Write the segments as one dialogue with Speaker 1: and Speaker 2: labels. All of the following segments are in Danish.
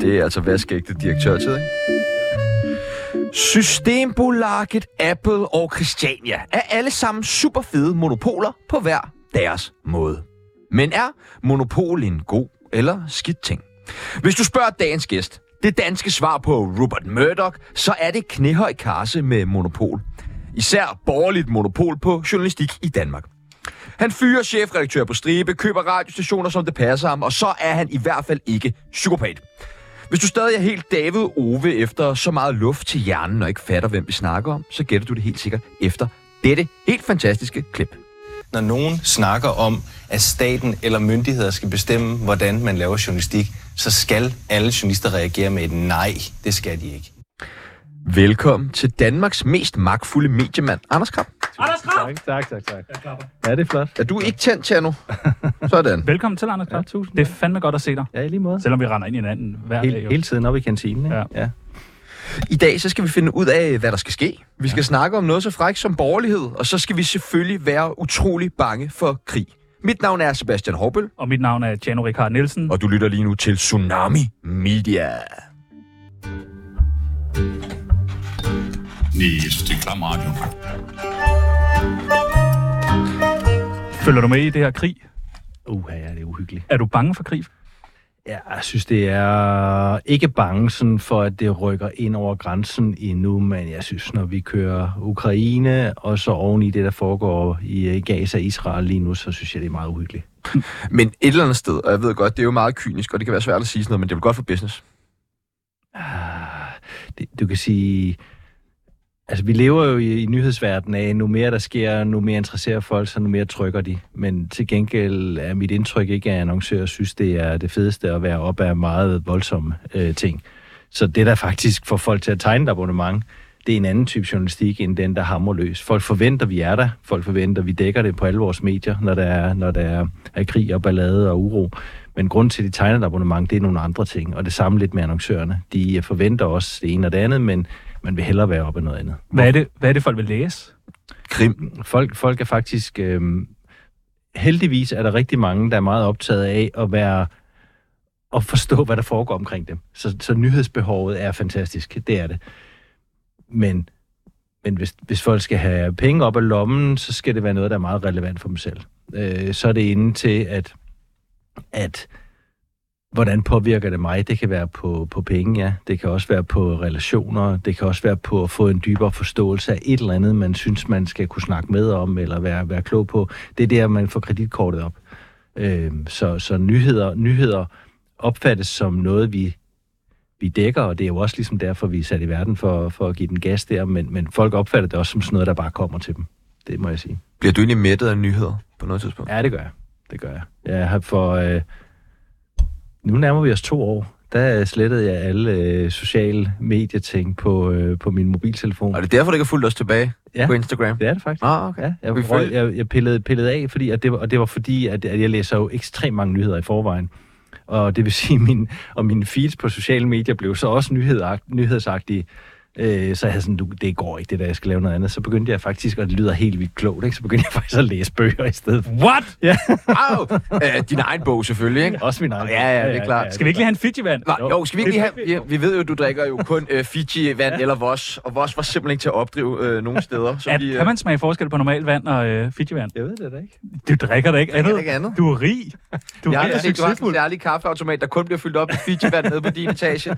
Speaker 1: Det er altså vaskægte direktørtid, ikke? Systembolaget, Apple og Christiania er alle sammen super fede monopoler på hver deres måde. Men er monopol en god eller skidt ting? Hvis du spørger dagens gæst, det danske svar på Rupert Murdoch, så er det knæhøj karse med monopol. Især borgerligt monopol på journalistik i Danmark. Han fyrer chefredaktør på stribe, køber radiostationer, som det passer ham, og så er han i hvert fald ikke psykopat. Hvis du stadig er helt David Ove efter så meget luft til hjernen og ikke fatter, hvem vi snakker om, så gætter du det helt sikkert efter dette helt fantastiske klip.
Speaker 2: Når nogen snakker om, at staten eller myndigheder skal bestemme, hvordan man laver journalistik, så skal alle journalister reagere med et nej. Det skal de ikke.
Speaker 1: Velkommen til Danmarks mest magtfulde mediemand, Anders Kram.
Speaker 3: Anders Krav!
Speaker 4: Tak, tak, tak, tak. Ja, det er flot.
Speaker 1: Er du ikke tændt til nu? Sådan.
Speaker 3: Velkommen til, Anders Krav.
Speaker 4: Ja, tusind
Speaker 3: Det er fandme godt at se dig.
Speaker 4: Ja, i lige måde.
Speaker 3: Selvom vi render ind i hinanden hver dag.
Speaker 4: Hele,
Speaker 3: jo.
Speaker 4: hele tiden op i kantinen, ikke?
Speaker 3: Ja.
Speaker 4: ja.
Speaker 1: I dag så skal vi finde ud af, hvad der skal ske. Vi skal ja. snakke om noget så frækt som borgerlighed, og så skal vi selvfølgelig være utrolig bange for krig. Mit navn er Sebastian Horbøl,
Speaker 3: Og mit navn er Tjano Ricard Nielsen.
Speaker 1: og du lytter lige nu til Tsunami Media.
Speaker 5: Nee, jeg synes, det er klam radio.
Speaker 3: Følger du med i det her krig?
Speaker 4: Uha, ja, det er uhyggeligt.
Speaker 3: Er du bange for krig?
Speaker 4: Ja, jeg synes, det er ikke bange sådan for, at det rykker ind over grænsen endnu, men jeg synes, når vi kører Ukraine, og så oven i det, der foregår i øh, Gaza og Israel lige nu, så synes jeg, det er meget uhyggeligt.
Speaker 1: Men et eller andet sted, og jeg ved godt, det er jo meget kynisk, og det kan være svært at sige sådan noget, men det er vel godt for business.
Speaker 4: Ah, det, du kan sige... Altså, vi lever jo i, i nyhedsverdenen af, nu mere der sker, nu mere interesserer folk sig, nu mere trykker de. Men til gengæld er mit indtryk ikke, at annoncører synes, det er det fedeste at være op af meget voldsomme øh, ting. Så det, der faktisk får folk til at tegne et abonnement, det er en anden type journalistik, end den, der hamrer løs. Folk forventer, vi er der. Folk forventer, vi dækker det på alle vores medier, når der er, når der er, er krig og ballade og uro. Men grunden til, at de tegner et abonnement, det er nogle andre ting. Og det samme lidt med annoncørerne. De øh, forventer også det ene og det andet, men man vil hellere være op af noget andet.
Speaker 3: Hvad er det, hvad er det folk vil læse?
Speaker 1: Krim.
Speaker 4: Folk, folk er faktisk... Øh, heldigvis er der rigtig mange, der er meget optaget af at være at forstå, hvad der foregår omkring dem. Så, så nyhedsbehovet er fantastisk. Det er det. Men, men hvis, hvis folk skal have penge op af lommen, så skal det være noget, der er meget relevant for dem selv. Øh, så er det inde til, at, at hvordan påvirker det mig? Det kan være på, på penge, ja. Det kan også være på relationer. Det kan også være på at få en dybere forståelse af et eller andet, man synes, man skal kunne snakke med om, eller være, være klog på. Det er der, man får kreditkortet op. Øh, så, så nyheder, nyheder opfattes som noget, vi, vi dækker, og det er jo også ligesom derfor, vi er sat i verden for, for at give den gas der, men, men folk opfatter det også som sådan noget, der bare kommer til dem. Det må jeg sige.
Speaker 1: Bliver du egentlig mættet af nyheder på noget tidspunkt?
Speaker 4: Ja, det gør jeg. Det gør jeg. Jeg har for... Øh, nu nærmer vi os to år. Der øh, slettede jeg alle øh, sociale medieting på, øh, på min mobiltelefon.
Speaker 1: Og det er derfor, du ikke har fulgt os tilbage
Speaker 4: Ja.
Speaker 1: på Instagram?
Speaker 4: Det er det faktisk.
Speaker 1: Ah, okay.
Speaker 4: Ja, jeg,
Speaker 1: Vi
Speaker 4: røg,
Speaker 1: følger-
Speaker 4: jeg, jeg pillede, pillede af, fordi, at det, var- og det var fordi, at, at jeg læser jo ekstremt mange nyheder i forvejen. Og det vil sige, min, og mine feeds på sociale medier blev så også nyhedagt, nyhedsagtige. Øh, så jeg havde sådan, du, det går ikke det der, jeg skal lave noget andet. Så begyndte jeg faktisk, og det lyder helt vildt klogt, ikke? så begyndte jeg faktisk at læse bøger i stedet. for.
Speaker 3: What?
Speaker 4: Ja,
Speaker 1: Au! Øh, din egen bog selvfølgelig, ikke?
Speaker 4: også min egen.
Speaker 1: Ja, ja, det er klart.
Speaker 3: Skal vi ikke lige have en Fiji-vand?
Speaker 1: Nej, jo, skal vi ikke lige have... Ja, vi ved jo, du drikker jo kun øh, Fiji-vand eller Vos, og Vos var simpelthen ikke til at opdrive øh, nogen steder. Så
Speaker 3: At,
Speaker 1: vi, øh,
Speaker 3: kan man smage forskel på normalt vand og øh, Fiji-vand?
Speaker 4: Jeg ved det da ikke.
Speaker 3: Du drikker da ikke andet.
Speaker 1: da ikke andet.
Speaker 3: Du er rig. Du
Speaker 1: jeg
Speaker 3: er
Speaker 1: har
Speaker 3: rig og
Speaker 1: set, du har sådan en
Speaker 3: succesfuld.
Speaker 1: særlig kaffeautomat, der kun bliver fyldt op med Fiji-vand nede på din etage.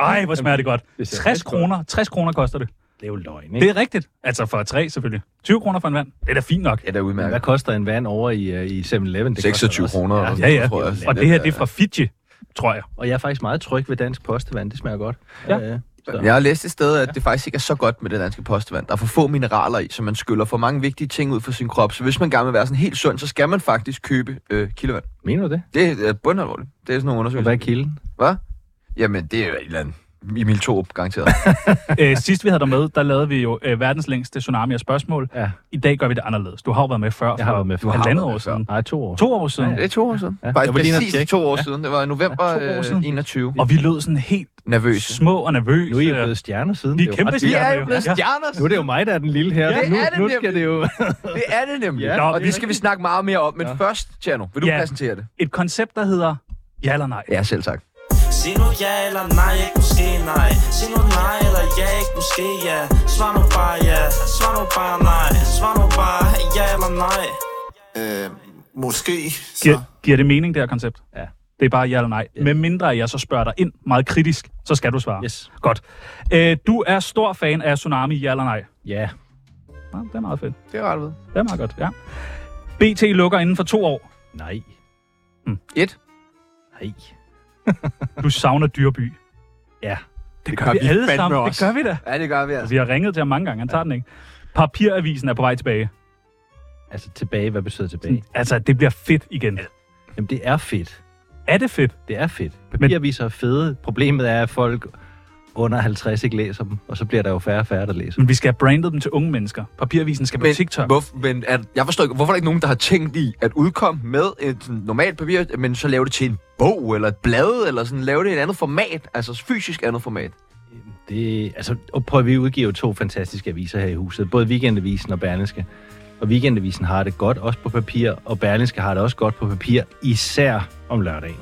Speaker 3: Ej, hvor smager det godt.
Speaker 4: Det ser
Speaker 3: 60
Speaker 4: rigtig godt.
Speaker 3: kroner. 60 kroner koster det.
Speaker 4: Det er jo løgn, ikke?
Speaker 3: Det er rigtigt. Altså for tre selvfølgelig. 20 kroner for en vand. Det er da fint nok.
Speaker 1: Ja, det er
Speaker 4: Men Hvad
Speaker 1: udmærket.
Speaker 4: koster en vand over i, øh, i 7-Eleven? Det koster
Speaker 1: 26
Speaker 4: også.
Speaker 1: kroner.
Speaker 4: Ja,
Speaker 3: Ja, ja.
Speaker 1: tror jeg.
Speaker 3: Og det her, det er fra Fiji, tror jeg.
Speaker 4: og jeg er faktisk meget tryg ved dansk postevand. Det smager godt.
Speaker 3: Ja.
Speaker 4: Øh, så.
Speaker 1: Jeg har læst et sted, at det faktisk ikke er så godt med det danske postevand. Der er for få mineraler i, så man skyller for mange vigtige ting ud for sin krop. Så hvis man gerne vil være sådan helt sund, så skal man faktisk købe øh, kilovand.
Speaker 4: Mener du det?
Speaker 1: Det er øh, bundalvorligt. Det er sådan nogle
Speaker 4: Og hvad
Speaker 1: undersøgelser.
Speaker 4: er kilden?
Speaker 1: Hvad? Jamen, det er jo et eller andet. Emil Thorup, garanteret.
Speaker 3: Æ, Øh, sidst vi havde dig med, der lavede vi jo øh, verdens længste tsunami af spørgsmål.
Speaker 4: Ja.
Speaker 3: I dag gør vi det anderledes. Du har jo været med før.
Speaker 4: Jeg har
Speaker 3: for
Speaker 4: været med før.
Speaker 1: Du har
Speaker 3: Halvandet
Speaker 1: været med
Speaker 3: år
Speaker 1: før.
Speaker 3: siden.
Speaker 4: Nej, to år.
Speaker 3: To år siden.
Speaker 1: Det er to år siden. Ja.
Speaker 4: Ja.
Speaker 1: Faktisk
Speaker 4: Jeg var lige inde og
Speaker 1: præcis
Speaker 4: tjekke.
Speaker 1: to år siden. Det var i november
Speaker 3: Ja, to år
Speaker 1: ja,
Speaker 3: siden.
Speaker 1: 21.
Speaker 3: Og vi lød sådan helt
Speaker 1: nervøs.
Speaker 3: små og nervøse.
Speaker 4: Nu er I jo blevet stjerner siden.
Speaker 3: Vi er
Speaker 4: Det jo
Speaker 3: kæmpe
Speaker 4: ret
Speaker 1: Vi er
Speaker 3: stjerner,
Speaker 1: jo blevet
Speaker 3: Ja.
Speaker 1: stjerner.
Speaker 4: vildt. Nu er det jo mig, der er den lille her.
Speaker 1: Ja, det
Speaker 4: nu,
Speaker 1: er det
Speaker 4: nu skal
Speaker 1: nemlig.
Speaker 4: det jo...
Speaker 1: Det er det nemlig.
Speaker 4: Ja,
Speaker 1: Ja, og
Speaker 3: det er
Speaker 1: det skal vi snakke meget mere om. Men ja. først, Tjerno, vil du
Speaker 3: Ja.
Speaker 1: præsentere det?
Speaker 3: Et koncept, der hedder ja eller nej.
Speaker 1: Ja, selv tak.
Speaker 5: Sig nu ja eller nej, ikke måske nej Sig nu nej eller ja, ikke måske ja Svar nu bare ja, svar nu bare nej Svar nu bare ja eller nej
Speaker 6: Øh, måske, så...
Speaker 3: Giver, giver det mening, det her koncept?
Speaker 4: Ja.
Speaker 3: Det er bare ja eller nej. Ja. Med mindre jeg så spørger dig ind meget kritisk, så skal du svare.
Speaker 4: Yes.
Speaker 3: Godt. Øh, du er stor fan af Tsunami, ja eller nej?
Speaker 4: Ja.
Speaker 3: Ja, det er meget fedt.
Speaker 1: Det er ret ved.
Speaker 3: Det er meget godt, ja. BT lukker inden for to år.
Speaker 4: Nej.
Speaker 1: Et.
Speaker 4: Nej.
Speaker 3: Du savner Dyrby.
Speaker 4: Ja.
Speaker 3: Det, det gør, vi, alle
Speaker 7: fandme
Speaker 3: sammen.
Speaker 7: også.
Speaker 3: Det gør vi da.
Speaker 1: Ja, det gør vi altså.
Speaker 3: Vi har ringet til ham mange gange, han tager den ikke. Papiravisen er på vej tilbage.
Speaker 4: Altså tilbage, hvad betyder tilbage?
Speaker 3: Altså, det bliver fedt igen.
Speaker 4: Jamen, det er fedt.
Speaker 3: Er det fedt?
Speaker 4: Det er fedt. Papiraviser er fede. Problemet er, at folk under 50 ikke læser dem, og så bliver der jo færre og færre, der læser dem.
Speaker 3: Men vi skal have brandet dem til unge mennesker. Papiravisen skal på
Speaker 1: Men,
Speaker 3: TikTok.
Speaker 1: Hvor, men er, jeg forstår ikke, hvorfor er der ikke nogen, der har tænkt i at udkomme med et sådan normalt papir, men så lave det til en bog eller et blad, eller sådan lave det i et andet format, altså fysisk andet format.
Speaker 4: Det, altså, og prøv at vi udgiver jo to fantastiske aviser her i huset. Både Weekendavisen og Berlingske. Og Weekendavisen har det godt, også på papir, og Berlingske har det også godt på papir, især om lørdagen.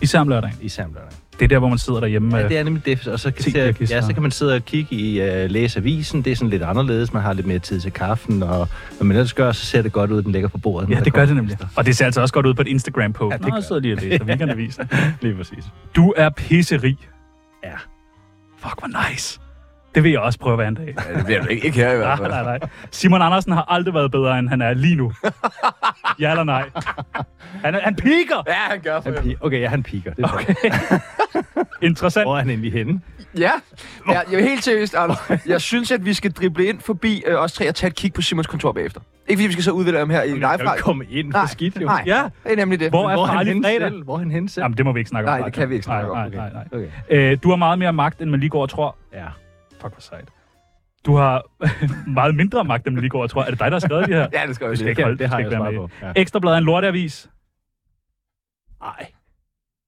Speaker 3: Især om lørdagen.
Speaker 4: Især om lørdagen.
Speaker 3: Det er der, hvor man sidder derhjemme. øh,
Speaker 4: Ja,
Speaker 3: Ja,
Speaker 4: det er nemlig det. Og så kan,
Speaker 3: Te,
Speaker 4: til,
Speaker 3: Birgis,
Speaker 4: ja, så
Speaker 3: og-
Speaker 4: kan man sidde og kigge i uh, læsavisen. Det er sådan lidt anderledes. Man har lidt mere tid til kaffen, og når man ellers gør, så ser det godt ud, den ligger på bordet. når
Speaker 3: ja
Speaker 4: der
Speaker 3: det gør
Speaker 4: kommer
Speaker 3: det nemlig. Og det ser altså også godt ud på et Instagram-post.
Speaker 4: Ja, det
Speaker 3: Nå,
Speaker 4: gør
Speaker 3: jeg sidder lige og læser weekendavisen.
Speaker 4: gæster. Lige præcis.
Speaker 3: Du er pisserig.
Speaker 4: Ja.
Speaker 3: Fuck, hvor nice. Det vil jeg også prøve hver en dag.
Speaker 1: Ja, det bliver det ikke, ikke her i hvert
Speaker 3: Nej,
Speaker 1: fald.
Speaker 3: nej, nej. Simon Andersen har aldrig været bedre, end han er lige nu. Ja eller nej? Han, er- han piker!
Speaker 1: Ja, han gør for
Speaker 4: Han
Speaker 1: det.
Speaker 4: pi- okay, ja, han piker. Det er okay.
Speaker 3: Interessant.
Speaker 4: Hvor er han egentlig henne?
Speaker 1: Ja, ja jeg, helt seriøst, Anders. Jeg synes, at vi skal drible ind forbi øh, os tre og tage et kig på Simons kontor bagefter. Ikke fordi vi skal så udvælge ham her i live
Speaker 4: Han kan jo ikke komme ind
Speaker 1: Nej,
Speaker 4: for skidt, jo.
Speaker 1: nej.
Speaker 3: Ja,
Speaker 1: Det er nemlig det.
Speaker 3: hvor er
Speaker 4: Hvor er han
Speaker 3: farlig
Speaker 4: henne
Speaker 3: fredag?
Speaker 4: selv? Hvor er han henne selv?
Speaker 3: Jamen, det må vi ikke snakke om.
Speaker 1: Nej, det kan vi ikke snakke om.
Speaker 3: nej,
Speaker 1: Okay.
Speaker 3: Nej, nej,
Speaker 4: Okay.
Speaker 3: nej. Øh, du har meget mere magt, end man lige går og tror.
Speaker 4: Ja.
Speaker 3: Fuck, hvor sejt. Du har meget mindre magt, end man lige går og tror. Er det dig, der har skrevet det her?
Speaker 1: Ja, det skal
Speaker 3: Det
Speaker 1: vi
Speaker 3: skal
Speaker 1: lige.
Speaker 3: ikke holde,
Speaker 4: det har
Speaker 3: skal
Speaker 4: jeg
Speaker 3: ikke være
Speaker 4: svaret
Speaker 3: med
Speaker 4: på. Ja.
Speaker 3: Ekstrabladet er en lorteavis.
Speaker 4: Ej,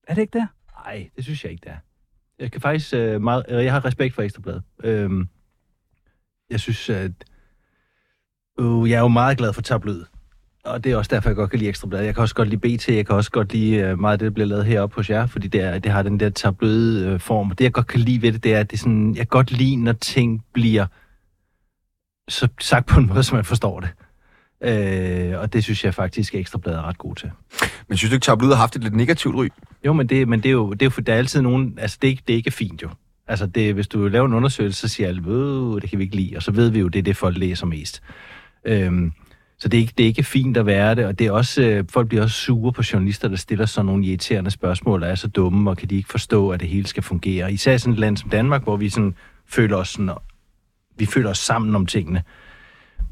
Speaker 3: Er det ikke det?
Speaker 4: ej, det synes jeg ikke, det er. Jeg kan faktisk øh, meget... Øh, jeg har respekt for Ekstrabladet. Øhm, jeg synes, at... Øh, jeg er jo meget glad for tabloid. Og det er også derfor, jeg godt kan lide Ekstrabladet. Jeg kan også godt lide BT, jeg kan også godt lide øh, meget af det, der bliver lavet heroppe hos jer, fordi det, er, det har den der tabloid øh, form. Det, jeg godt kan lide ved det, det er, at det er sådan, jeg kan godt lide, når ting bliver så sagt på en måde, så man forstår det. Øh, og det synes jeg faktisk, at Ekstrabladet er ret god til.
Speaker 1: Men synes du ikke, Tablet har haft et lidt negativt ry?
Speaker 4: Jo, men det, men det er jo, det er jo for, der er altid nogen, altså det er, ikke, det er ikke fint jo. Altså det, hvis du laver en undersøgelse, så siger alle, "Øh, det kan vi ikke lide, og så ved vi jo, det er det, folk læser mest. Øhm, så det er, ikke, det er ikke fint at være det, og det er også, øh, folk bliver også sure på journalister, der stiller sådan nogle irriterende spørgsmål, og er så dumme, og kan de ikke forstå, at det hele skal fungere. Især i sådan et land som Danmark, hvor vi sådan føler os, sådan, vi føler os sammen om tingene.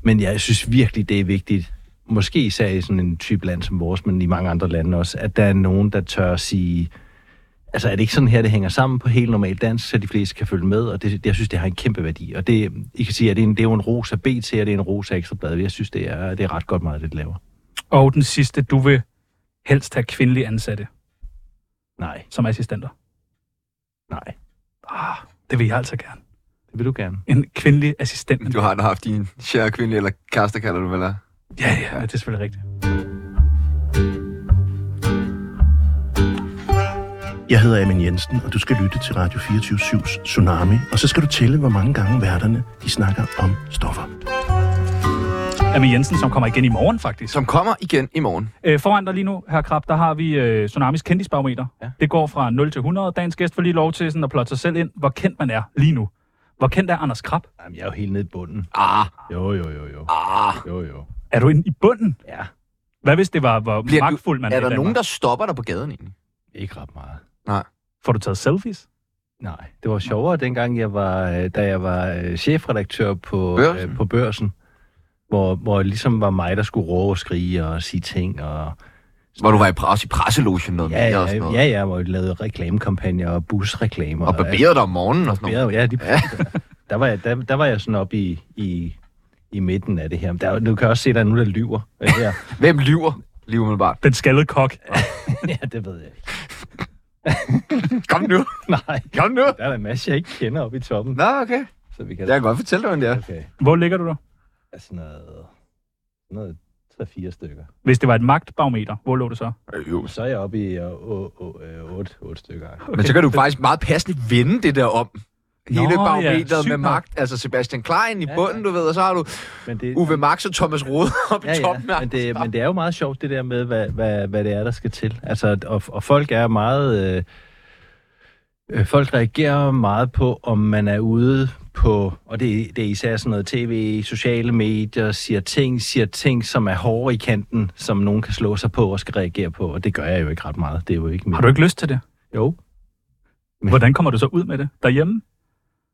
Speaker 4: Men jeg synes virkelig, det er vigtigt, måske især i sådan en type land som vores, men i mange andre lande også, at der er nogen, der tør at sige, altså er det ikke sådan her, det hænger sammen på helt normal dansk, så de fleste kan følge med, og det, det jeg synes, det har en kæmpe værdi. Og det, I kan sige, at det er, en, det er jo en ros af BT, og det er en ros af Ekstrabladet. Jeg synes, det er, det er ret godt meget, det de laver.
Speaker 3: Og den sidste, du vil helst have kvindelige ansatte
Speaker 4: Nej,
Speaker 3: som assistenter.
Speaker 4: nej.
Speaker 3: Ah, det vil jeg altså gerne.
Speaker 4: Det vil du gerne.
Speaker 3: En kvindelig assistent.
Speaker 1: Du har da haft din kære kvinde, eller kæreste kalder du vel? er?
Speaker 3: Ja, ja, det er selvfølgelig rigtigt.
Speaker 8: Jeg hedder Amin Jensen, og du skal lytte til Radio 24-7's Tsunami, og så skal du tælle, hvor mange gange værterne de snakker om stoffer.
Speaker 3: Amin Jensen, som kommer igen i morgen faktisk.
Speaker 1: Som kommer igen i morgen.
Speaker 3: Øh, foran dig lige nu, her Krab, der har vi øh, Tsunamis kendisbarometer. Ja.
Speaker 4: Ja.
Speaker 3: Det går fra 0 til 100. Dagens gæst får lige lov til sådan at plotte sig selv ind, hvor kendt man er lige nu. Hvor kendt er Anders Krab?
Speaker 4: Jamen, jeg er jo helt nede i bunden.
Speaker 1: Ah,
Speaker 4: Jo, jo, jo, jo.
Speaker 1: ah.
Speaker 4: Jo, jo.
Speaker 3: Er du inde i bunden?
Speaker 4: Ja,
Speaker 3: Hvad hvis det var, hvor
Speaker 1: Bliver du-
Speaker 3: magtfuld man
Speaker 1: Er
Speaker 3: i
Speaker 1: der
Speaker 3: Danmark?
Speaker 1: nogen, der stopper dig på gaden egentlig?
Speaker 4: ikke ret meget.
Speaker 3: Får du taget selfies?
Speaker 4: Nej, det var sjovere dengang, jeg var, øh, da jeg var øh, chefredaktør på
Speaker 1: Børsen?
Speaker 4: børsen, øh, på børsen hvor, hvor det ligesom var mig, der skulle råbe og skrige og sige ting. Og,
Speaker 1: Hvor du var i, pre- også i presselogen noget
Speaker 4: ja,
Speaker 1: mere
Speaker 4: ja,
Speaker 1: og sådan noget.
Speaker 4: ja, ja, hvor jeg lavede reklamekampagner og busreklamer.
Speaker 1: Og barberede dig om morgenen og sådan noget.
Speaker 4: barberede. Ja, lige ja. Der, var jeg, der, der var jeg sådan oppe i, i, i midten af det her. Men Der, er jo- du kan også se, at der er nogen, der lyver. øh, Her.
Speaker 1: Hvem lyver? Lige umiddelbart.
Speaker 3: Den skaldede kok.
Speaker 4: ja, det ved jeg ikke.
Speaker 1: Kom nu.
Speaker 4: Nej,
Speaker 1: Kom nu.
Speaker 4: der er en masse, jeg ikke kender oppe i toppen.
Speaker 1: Nå, okay.
Speaker 4: Så vi
Speaker 1: Jeg
Speaker 4: kan...
Speaker 1: kan godt fortælle dig, hvordan det er.
Speaker 4: Okay.
Speaker 3: Hvor ligger du der?
Speaker 4: Altså noget... Noget 3-4 stykker.
Speaker 3: Hvis det var et magtbarometer, hvor lå det så?
Speaker 1: Øh, Jo.
Speaker 4: Så er jeg oppe i 8 uh, stykker.
Speaker 1: Men så kan du faktisk meget passende vende det der om. Hele
Speaker 3: Nå, ja.
Speaker 1: barometeret
Speaker 3: Sygt
Speaker 1: med
Speaker 3: nok.
Speaker 1: magt. Altså Sebastian Klein i
Speaker 4: Ja,
Speaker 1: bunden, du ved, og så har du
Speaker 4: Men det,
Speaker 1: Uwe Max og Thomas Rode op i toppen.
Speaker 4: men, det, men det er jo meget sjovt, det der med, hvad, hvad, hvad det er, der skal til. Altså, og, og folk er meget... Øh, øh, folk reagerer meget på, om man er ude på, og det, det er især sådan noget tv, sociale medier, siger ting, siger ting, som er hårde i kanten, som nogen kan slå sig på og skal reagere på, og det gør jeg jo ikke ret meget. Det er jo ikke min.
Speaker 3: Har du ikke lyst til det?
Speaker 4: Jo,
Speaker 3: Hvordan kommer du så ud med det? Derhjemme?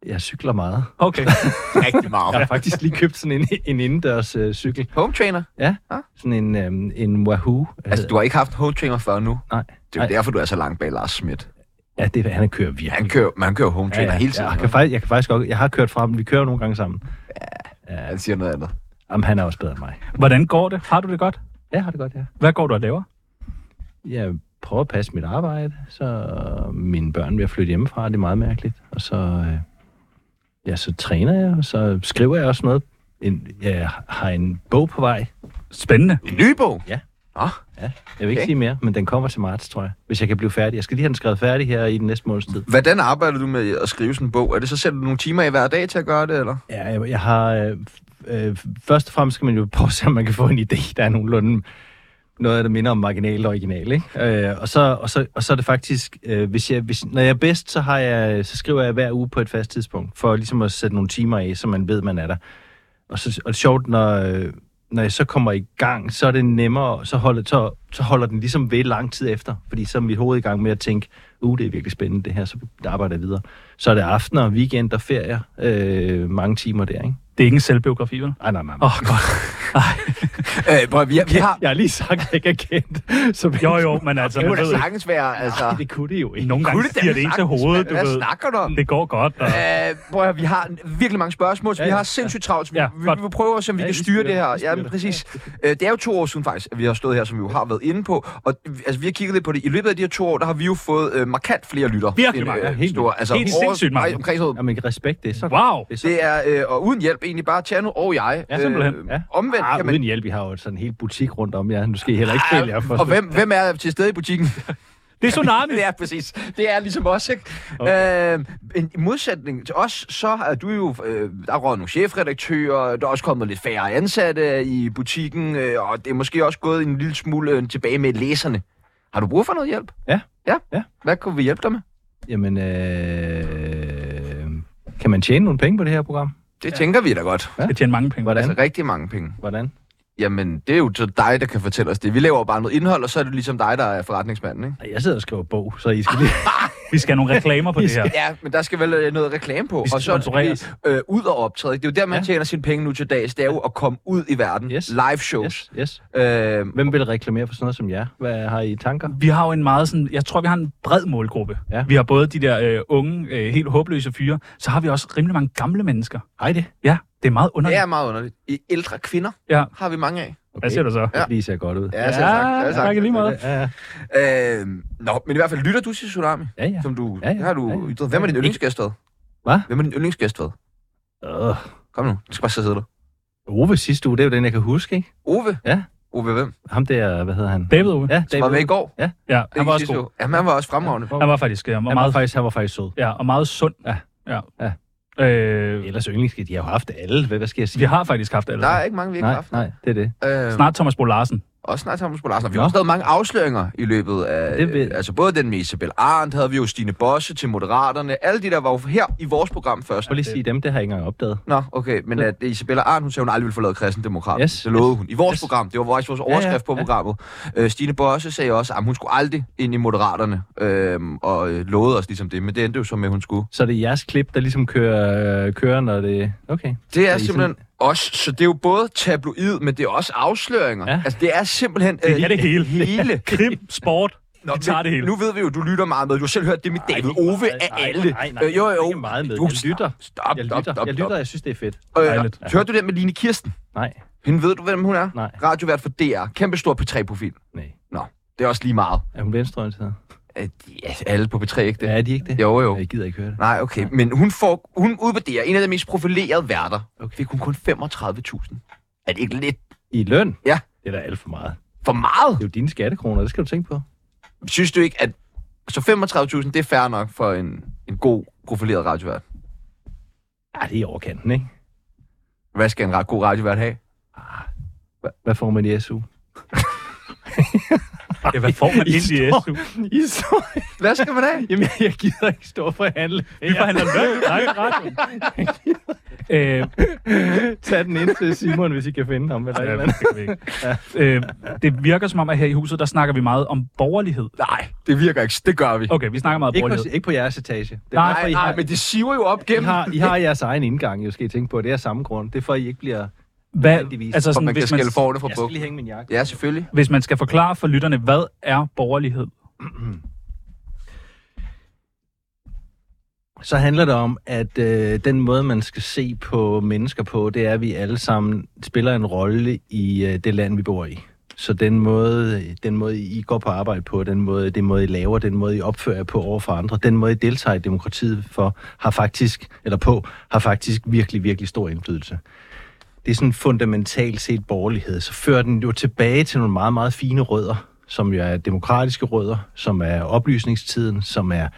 Speaker 4: jeg cykler meget.
Speaker 3: Okay.
Speaker 1: rigtig
Speaker 4: Jeg
Speaker 1: meget.
Speaker 4: har faktisk lige købt sådan en, en indendørs øh, cykel.
Speaker 1: Home trainer.
Speaker 4: Ja,
Speaker 1: Ah.
Speaker 4: sådan en, øhm, en Wahoo.
Speaker 1: Altså, du har ikke haft en home trainer før nu.
Speaker 4: Nej.
Speaker 1: Det er jo
Speaker 4: Nej.
Speaker 1: derfor, du er så langt bag Lars Schmidt.
Speaker 4: Ja, det, han kører virkelig.
Speaker 1: Han kører, man kører home trainer hele tiden.
Speaker 4: Jeg kan, faktisk, jeg kan faktisk godt, jeg har kørt frem, vi kører nogle gange sammen.
Speaker 1: Han siger noget andet.
Speaker 4: Jamen, han er også bedre end mig.
Speaker 3: Hvordan går det? Har du det godt?
Speaker 4: Ja, har det godt, ja.
Speaker 3: Hvad går du og laver?
Speaker 4: Jeg prøver at passe mit arbejde, så mine børn vil flytte hjemmefra, det er meget mærkeligt. Og så, øh, ja, så træner jeg, og så skriver jeg også noget. En, jeg har en bog på vej.
Speaker 3: Spændende.
Speaker 1: En ny bog?
Speaker 4: Ja.
Speaker 1: Nå,
Speaker 4: Jeg vil ikke
Speaker 1: Okay.
Speaker 4: okay. sige mere, men den kommer til marts, tror jeg. Hvis jeg kan blive færdig. Jeg skal lige have den skrevet færdig her i den næste måneds tid.
Speaker 1: hvordan arbejder du med at skrive sådan en bog? Er det så sætter du nogle timer i hver dag til at gøre det, eller?
Speaker 4: Ja, jeg, jeg har... Øh, f- øh, først og fremmest skal man jo prøve at se, om man kan få en idé, der er nogenlunde noget, der minder om marginal og original, ikke? Øh, og, så, og, så, og så er det faktisk, øh, hvis jeg, hvis, når jeg er bedst, så, har jeg, så skriver jeg hver uge på et fast tidspunkt, for ligesom at sætte nogle timer af, så man ved, man er der. Og, så, og det er sjovt, når, øh, når jeg så kommer i gang, så er det nemmere, så holder, så, så holder den ligesom ved lang tid efter, fordi så er mit hoved i gang med at tænke, uh, det er virkelig spændende det her, så arbejder jeg videre. Så er det aftener, weekend og ferier, øh, mange timer der, ikke?
Speaker 3: Det er ikke en selvbiografi, vel?
Speaker 4: Ej, nej, nej,
Speaker 3: Åh,
Speaker 4: nej.
Speaker 3: oh, godt. Ej.
Speaker 1: Øh, prøv, at- vi, vi har...
Speaker 4: Jeg har lige sagt, at jeg ikke er kendt. Så
Speaker 3: Jo, jo, men altså,
Speaker 1: Det
Speaker 3: man
Speaker 1: kunne da
Speaker 3: ved ikke.
Speaker 1: sagtens være, altså...
Speaker 4: Det kunne det jo ikke.
Speaker 3: Nogle gange
Speaker 1: Kunne det da
Speaker 3: stiger det ind til
Speaker 1: sagtens,
Speaker 3: hovedet,
Speaker 1: mand.
Speaker 3: du
Speaker 1: Hvad
Speaker 3: ved.
Speaker 1: snakker du om?
Speaker 3: Det går godt. Og...
Speaker 1: Øh, prøv at høre, vi har virkelig mange spørgsmål, så
Speaker 4: Ja,
Speaker 1: vi
Speaker 4: ja,
Speaker 1: har sindssygt travlt. så Vi,
Speaker 3: Ja,
Speaker 1: vi,
Speaker 3: godt.
Speaker 1: vi vil prøve at se, om vi
Speaker 4: Ja,
Speaker 1: kan
Speaker 4: I
Speaker 1: styre
Speaker 4: styrer
Speaker 1: det
Speaker 4: det,
Speaker 1: her.
Speaker 4: I
Speaker 1: Ja,
Speaker 4: styrer
Speaker 1: men
Speaker 4: det.
Speaker 1: præcis. Øh, Det er jo to år siden faktisk, at vi har stået her, som vi jo har været inde på. Og øh, altså, vi har kigget lidt på det. I løbet af de her to år, der har vi jo fået øh, markant flere lytter.
Speaker 3: Virkelig mange.
Speaker 4: Ja, helt
Speaker 1: store, altså,
Speaker 3: Helt
Speaker 1: over-
Speaker 3: sindssygt mange.
Speaker 1: nej, Omkring sådan noget
Speaker 4: Jamen, respekt, det er så
Speaker 3: Wow.
Speaker 4: Det er så
Speaker 1: Det er, øh, og uden hjælp egentlig bare Tjerno og jeg.
Speaker 3: Ja, simpelthen.
Speaker 1: Øh,
Speaker 4: Ja.
Speaker 1: Omvendt
Speaker 4: Ah,
Speaker 1: kan man... Ah,
Speaker 4: uden hjælp, vi har jo sådan en hel butik rundt om jer. Nu skal I heller ikke føle jer for.
Speaker 1: og hvem, hvem er til stede i butikken?
Speaker 3: Det er tsunami.
Speaker 1: det er præcis. Det er ligesom os, ikke? Okay. Øh, men I modsætning til os, så er du jo... Øh, der er røget nogle chefredaktører, der er også kommet lidt færre ansatte i butikken, øh, og det er måske også gået en lille smule øh, tilbage med læserne. Har du brug for noget hjælp?
Speaker 4: Ja.
Speaker 1: Ja?
Speaker 4: Ja.
Speaker 1: Hvad kunne vi hjælpe dig med?
Speaker 4: Jamen, øh... kan man tjene nogle penge på det her program?
Speaker 1: Det ja. tænker vi da godt.
Speaker 3: Jeg tjener mange penge.
Speaker 4: Hvordan?
Speaker 1: Altså rigtig mange penge.
Speaker 4: Hvordan?
Speaker 1: Jamen, det er jo så dig, der kan fortælle os det. Vi laver bare noget indhold, og så er det ligesom dig, der er forretningsmanden, ikke?
Speaker 4: Ej, Jeg sidder og skriver bog, så I skal lige...
Speaker 3: Vi skal have nogle reklamer på det her.
Speaker 1: Ja, men der skal vel øh, noget reklame på.
Speaker 3: Vi skal
Speaker 1: Og så
Speaker 3: sponsoreres.
Speaker 1: øh, ud og optræde. ikke? Det er jo der, man ja.
Speaker 4: Ja.
Speaker 1: tjener sine penge nu til dags. Det er jo at komme ud i verden.
Speaker 4: Yes.
Speaker 1: Live shows.
Speaker 4: Yes, yes.
Speaker 1: Yes. Øh,
Speaker 4: Hvem vil reklamere for sådan noget som jer? Hvad har I i tanker?
Speaker 3: Vi har jo en meget sådan, jeg tror, vi har en bred målgruppe.
Speaker 4: Ja.
Speaker 3: Vi har både de der øh, unge, øh, helt håbløse fyre, så har vi også rimelig mange gamle mennesker.
Speaker 4: Hej det.
Speaker 3: Ja, det er meget
Speaker 1: det
Speaker 3: underligt.
Speaker 1: er meget underligt. I ældre kvinder
Speaker 3: Ja.
Speaker 1: har vi mange af.
Speaker 4: Okay.
Speaker 3: Hvad siger du så?
Speaker 4: Ja. Det ser godt ud.
Speaker 1: Ja, selv tak. Selv tak.
Speaker 3: tak, i lige meget.
Speaker 4: ja, ja.
Speaker 1: Øh, nå, men i hvert fald lytter du til Tsunami,
Speaker 4: ja, ja.
Speaker 1: som du
Speaker 4: Ja, ja.
Speaker 1: har du
Speaker 4: Ja, ja.
Speaker 1: ytret. Hvem er din
Speaker 4: Ikke-
Speaker 1: yndlingsgæst ved?
Speaker 4: Hvad?
Speaker 1: Hvem er din yndlingsgæst ved?
Speaker 4: Øh,
Speaker 1: Kom nu, du skal bare sidde der.
Speaker 4: Ove sidste uge, det er jo den, jeg kan huske, ikke?
Speaker 1: Ove?
Speaker 4: Ja.
Speaker 1: Ove hvem?
Speaker 4: Ham der, hvad hedder han?
Speaker 3: David Ove.
Speaker 4: Ja,
Speaker 1: Som var med i går.
Speaker 3: Ja, han var også
Speaker 1: Sidste
Speaker 3: god.
Speaker 1: uge. Jamen, han var også fremragende.
Speaker 3: Han var faktisk øh,
Speaker 4: Han var,
Speaker 3: meget,
Speaker 4: faktisk, han var faktisk sød.
Speaker 3: ja, og meget sund.
Speaker 4: Ja.
Speaker 3: ja.
Speaker 4: Ja.
Speaker 3: Øh,
Speaker 4: Ellers yndlingsgæst, de har jo haft alle. Hvad, hvad skal jeg sige?
Speaker 3: vi har faktisk haft alle.
Speaker 1: Der er ikke mange, vi ikke har
Speaker 4: Nej,
Speaker 1: haft.
Speaker 4: nej, det er det.
Speaker 1: Øh,
Speaker 3: Snart Thomas Bo Larsen.
Speaker 1: Og snart Thomas Bo Larsen. Og Vi har
Speaker 4: Nå.
Speaker 1: også lavet mange afsløringer i løbet af...
Speaker 4: Det ved-
Speaker 1: øh, Altså både den med Isabel Arendt, havde vi jo Stine Bosse til Moderaterne. Alle de der var jo her i vores program først.
Speaker 4: Prøv lige at sige dem, det har jeg ikke engang opdaget.
Speaker 1: Nå, okay, men at Isabella Arendt, hun sagde, hun aldrig ville forlade kristendemokrat.
Speaker 4: Yes,
Speaker 1: det lovede
Speaker 4: yes,
Speaker 1: hun. I vores
Speaker 4: yes.
Speaker 1: program, det var faktisk vores
Speaker 4: ja,
Speaker 1: overskrift på
Speaker 4: ja.
Speaker 1: programmet. Øh, Stine Bosse sagde også, at hun skulle aldrig ind i Moderaterne, øhm, og øh, lovede os ligesom det, men det endte jo så med, at hun skulle.
Speaker 4: Så det er jeres klip, der ligesom kører, øh, kører når det... Okay.
Speaker 1: Det
Speaker 4: Så
Speaker 1: er
Speaker 4: I
Speaker 1: simpelthen os, så det er jo både tabloid, men det er også afsløringer.
Speaker 4: Ja.
Speaker 1: Altså, det er simpelthen...
Speaker 3: Det er det hele.
Speaker 1: hele.
Speaker 3: Krim, sport, vi tager
Speaker 1: men
Speaker 3: det hele.
Speaker 1: Nu ved vi jo, du lytter meget med. Du har selv hørt det med David Ove af alle.
Speaker 4: Nej, nej,
Speaker 1: Øh, jo, jo.
Speaker 4: Ikke meget med.
Speaker 1: Du,
Speaker 4: Jeg lytter.
Speaker 1: Stop,
Speaker 4: Jeg
Speaker 1: stop,
Speaker 4: lytter.
Speaker 1: stop.
Speaker 4: Jeg lytter, jeg synes, det er fedt.
Speaker 1: stop.
Speaker 3: Dejligt.
Speaker 1: Øh, hørte du den med Line Kirsten?
Speaker 4: Nej,
Speaker 1: Hende ved du, hvem hun er?
Speaker 4: Nej.
Speaker 1: Radiovært for DR. Kæmpe stor P3-profil.
Speaker 4: nej.
Speaker 1: Nå, det er også lige meget.
Speaker 4: Er hun venstreorienteret?
Speaker 1: Øh, ja, alle på P3, ikke det?
Speaker 4: Ja, er de ikke det?
Speaker 1: Jo, jo.
Speaker 4: Jeg gider ikke høre det.
Speaker 1: Nej, okay. Men hun, får, hun ude på DR, en af de mest profilerede værter,
Speaker 4: Okay.
Speaker 1: fik hun kun 35.000. Er det ikke lidt?
Speaker 4: I løn?
Speaker 1: Ja.
Speaker 4: Det er da alt for meget.
Speaker 1: For meget?
Speaker 4: Det er jo dine skattekroner, det skal du tænke på.
Speaker 1: Synes du ikke, at så 35.000, det er fair nok for en, en god profileret radiovært?
Speaker 4: Ja, det er i overkanten, ikke?
Speaker 1: Hvad skal en ra- god radiovært have?
Speaker 4: Hvad får man i SU?
Speaker 3: Ja, hvad får man
Speaker 4: I
Speaker 3: ind i
Speaker 4: står-
Speaker 3: SU?
Speaker 4: I så...
Speaker 1: Hvad skal man have?
Speaker 4: Jamen, jeg gider ikke stå og forhandle.
Speaker 3: Vi forhandler løn, nej, radio. øh,
Speaker 4: Tag den ind til Simon, hvis I kan finde ham. Eller et
Speaker 3: Ja,
Speaker 4: eller
Speaker 3: det
Speaker 4: andet.
Speaker 3: kan vi ikke. øh, det virker som om, at her i huset, der snakker vi meget om borgerlighed.
Speaker 1: Nej, det virker ikke. Det gør vi.
Speaker 3: Okay, vi snakker meget om
Speaker 4: Ikke, på,
Speaker 3: borgerlighed.
Speaker 4: ikke på jeres etage. Det er
Speaker 3: Nej,
Speaker 4: derfor,
Speaker 1: Nej,
Speaker 4: I
Speaker 1: nej,
Speaker 4: har-
Speaker 1: men det siver jo op
Speaker 4: I
Speaker 1: gennem.
Speaker 4: har, I har jeres egen indgang, jo skal I tænke på. Det er af samme grund. Det er for, at I ikke bliver...
Speaker 3: Hvad,
Speaker 4: nødvendigvis,
Speaker 3: altså
Speaker 1: For
Speaker 3: sådan,
Speaker 1: man kan
Speaker 3: hvis, man,
Speaker 1: skælde forne fra
Speaker 4: Jeg skal
Speaker 1: bukken.
Speaker 4: lige hænge min jakke.
Speaker 1: Ja, selvfølgelig.
Speaker 3: hvis man skal forklare for lytterne, hvad er borgerlighed?
Speaker 4: Så handler det om, at øh, den måde, man skal se på mennesker på, det er, at vi alle sammen spiller en rolle i øh, det land, vi bor i. Så den måde, den måde, I går på arbejde på, den måde, den måde, I laver, den måde, I opfører jer på over for andre, den måde, I deltager i demokratiet for, har faktisk, eller på, har faktisk virkelig, virkelig stor indflydelse. det er sådan fundamentalt set borgerlighed, så fører den jo tilbage til nogle meget, meget fine rødder, som jo er demokratiske rødder, som er oplysningstiden, som er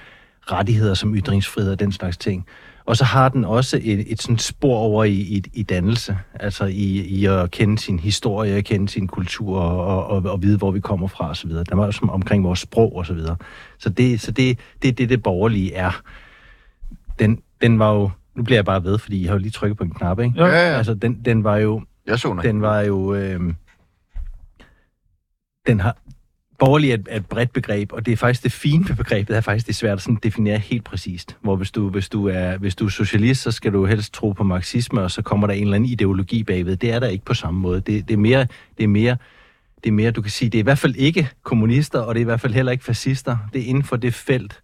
Speaker 4: rettigheder som ytringsfrihed og den slags ting. Og så har den også et, et sådan spor over i, i, i dannelse, altså i, i at kende sin historie, at kende sin kultur og, og, og vide, hvor vi kommer fra osv. Der var også omkring vores sprog osv. Så, videre. så, det, så det, det er det, det borgerlige er. Den, den var jo... Nu bliver jeg bare ved, fordi I har jo lige trykket på en knap, ikke?
Speaker 3: Ja,
Speaker 1: ja.
Speaker 4: Altså, den, den var jo
Speaker 1: Jeg så noget.
Speaker 4: den var jo... Øh, den har... Borgerlig er et, er et bredt begreb, og det er faktisk det fine ved begrebet, er faktisk det er svært at sådan definere helt præcist. Hvor hvis du, hvis, du er, hvis du er socialist, så skal du helst tro på marxisme, og så kommer der en eller anden ideologi bagved. Det er der ikke på samme måde. Det, det, er, mere, det, er, mere, det er mere, du kan sige, det er i hvert fald ikke kommunister, og det er i hvert fald heller ikke fascister. Det er inden for det felt,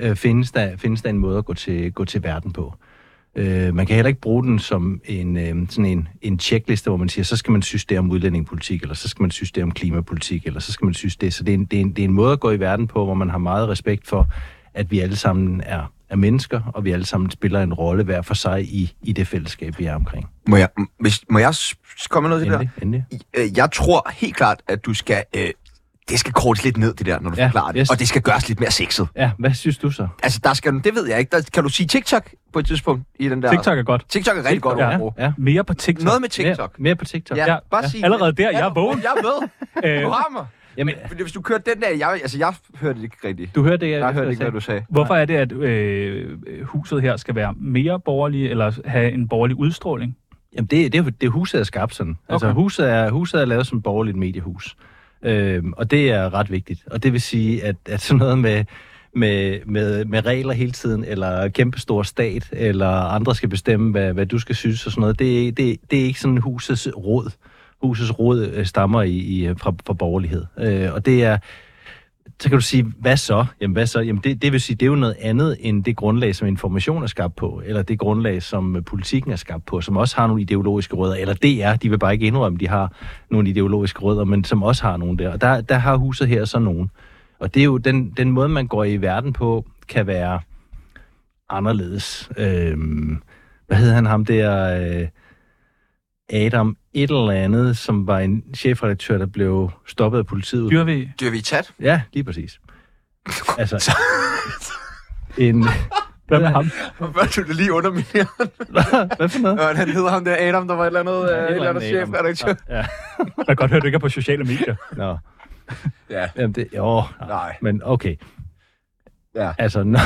Speaker 4: øh, findes, der, findes der en måde at gå til, gå til verden på. Øh, man kan heller ikke bruge den som en, øh, sådan en, en checkliste, hvor man siger, så skal man synes det om udlændingepolitik, eller så skal man synes det om klimapolitik, eller så skal man synes det. Så det er, en, det, er en, det er en måde at gå i verden på, hvor man har meget respekt for, at vi alle sammen er, er mennesker, og vi alle sammen spiller en rolle hver for sig i, i det fællesskab, vi er omkring.
Speaker 1: Må jeg, m- hvis, må jeg s- komme med noget til det der?
Speaker 4: Endelig, endelig.
Speaker 1: Øh, Jeg tror helt klart, at du skal... Øh, det skal kortes lidt ned, det der, når du ja,
Speaker 4: Ja,
Speaker 1: forklarer det. Yes.
Speaker 4: yes.
Speaker 1: Og det skal gøres lidt mere sexet.
Speaker 4: Ja, hvad synes du så?
Speaker 1: Altså, der skal, det ved jeg ikke. Der, kan du sige TikTok på et tidspunkt i den der...
Speaker 3: TikTok er godt.
Speaker 1: TikTok er rigtig TikTok, godt ord at bruge.
Speaker 4: ja, ja.
Speaker 3: Mere på TikTok.
Speaker 1: Noget med
Speaker 4: Mere,
Speaker 1: TikTok.
Speaker 4: mere på TikTok.
Speaker 1: Ja,
Speaker 3: Ja,
Speaker 1: bare
Speaker 4: ja.
Speaker 1: sig
Speaker 3: Allerede der, jeg er vågen.
Speaker 1: Jeg er med.
Speaker 3: Øh,
Speaker 1: Du har mig.
Speaker 4: Jamen,
Speaker 1: Men Hvis du kørte den der... Jeg, altså, jeg hørte det ikke rigtigt.
Speaker 4: du hørte det, jeg,
Speaker 1: Jeg hørte ikke, hvad du sagde.
Speaker 3: Hvorfor er det, at øh, huset her skal være mere borgerlig, eller have en borgerlig udstråling?
Speaker 4: Jamen, det, det, er jo- det huset er skabt sådan. Altså,
Speaker 3: Okay.
Speaker 4: huset, er, huset er lavet som borgerligt mediehus. Øhm, og det er ret vigtigt. Og det vil sige, at, at sådan noget med, med, med, med regler hele tiden, eller kæmpestor stat, eller andre skal bestemme, hvad, hvad du skal synes og sådan noget, det, er- det, det er ikke sådan husets råd. Husets råd øh, stammer i, i, fra, fra borgerlighed. Øh, og det er, så kan du sige, hvad så? Jamen, hvad så? Jamen, det, det vil sige, det er jo noget andet end det grundlag, som information er skabt på, eller det grundlag, som øh, politikken er skabt på, som også har nogle ideologiske rødder, eller DR, de vil bare ikke indrømme, de har nogle ideologiske rødder, men som også har nogle der. Og der, der har huset her så nogen. Og det er jo den, den måde, man går i verden på, kan være anderledes. Øhm, hvad hed han ham der? Øh, Adam et eller andet, som var en chefredaktør, der blev stoppet af politiet.
Speaker 3: Dyrvi,
Speaker 1: Dyr vi tat?
Speaker 4: Ja, lige præcis. Altså, en...
Speaker 3: hvad med ham?
Speaker 1: Hvad du det lige under min
Speaker 4: Hvad for noget?
Speaker 1: Hvad han hedder ham der Adam, der var et eller andet, øh, et eller andet chefredaktør.
Speaker 4: Ja,
Speaker 3: Jeg kan godt høre, du ikke er på sociale medier.
Speaker 4: nå.
Speaker 1: Ja.
Speaker 4: Jamen, det, jo,
Speaker 1: Nej.
Speaker 4: men okay.
Speaker 1: Ja.
Speaker 4: Altså, nå,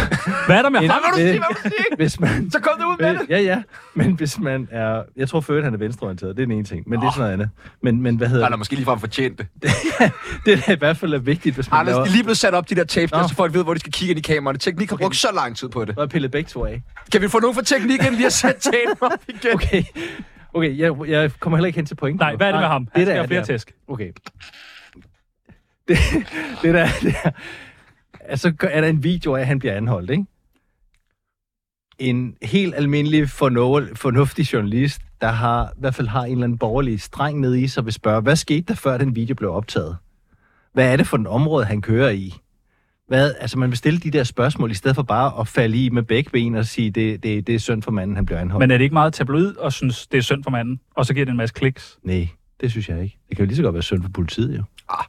Speaker 3: Hvad er der med
Speaker 4: En-
Speaker 3: ham?
Speaker 1: Hvad vil du
Speaker 4: Det-
Speaker 1: sige? Hvad vil du sige?
Speaker 4: hvis man...
Speaker 1: Så kom du ud med det.
Speaker 4: Ja, ja, men hvis man er... Jeg tror, Født han er venstreorienteret, det er den ene ting, men det er sådan noget andet. Men, men hvad hedder
Speaker 1: Eller måske ligefrem fortjent det.
Speaker 4: det? Det er i hvert fald er vigtigt, hvis man
Speaker 1: Anders, de er
Speaker 4: laver...
Speaker 1: lige blevet sat op, de der tapes, der,
Speaker 4: Nå.
Speaker 1: så folk ved, hvor de skal kigge ind i kameraerne. Teknik har brugt så lang tid på det.
Speaker 4: Nu har jeg pillet begge to af.
Speaker 1: Kan vi få nogen fra teknikken lige at sætte tapen op igen?
Speaker 4: Okay, okay jeg, jeg kommer heller ikke hen til pointen.
Speaker 3: Nej, hvad er det med ham? Han
Speaker 4: der
Speaker 3: skal
Speaker 4: er,
Speaker 3: have flere
Speaker 4: det er-
Speaker 3: tæsk.
Speaker 4: Okay. Det, det der, det der. Altså, er der en video af, at han bliver anholdt, ikke? En helt almindelig forno- fornuftig journalist, der har, i hvert fald har en eller anden borgerlig streng nede i sig, vil spørge, hvad skete der, før den video blev optaget? Hvad er det for et område, han kører i? Hvad, altså, man vil stille de der spørgsmål, i stedet for bare at falde i med begge ben og sige, det, det, det er synd for manden, han bliver anholdt.
Speaker 3: Men er det ikke meget tabloid og synes, det er synd for manden? Og så giver det en masse kliks.
Speaker 4: Nej, Det synes jeg ikke. Det kan jo lige så godt være synd for politiet, jo.
Speaker 1: Ah.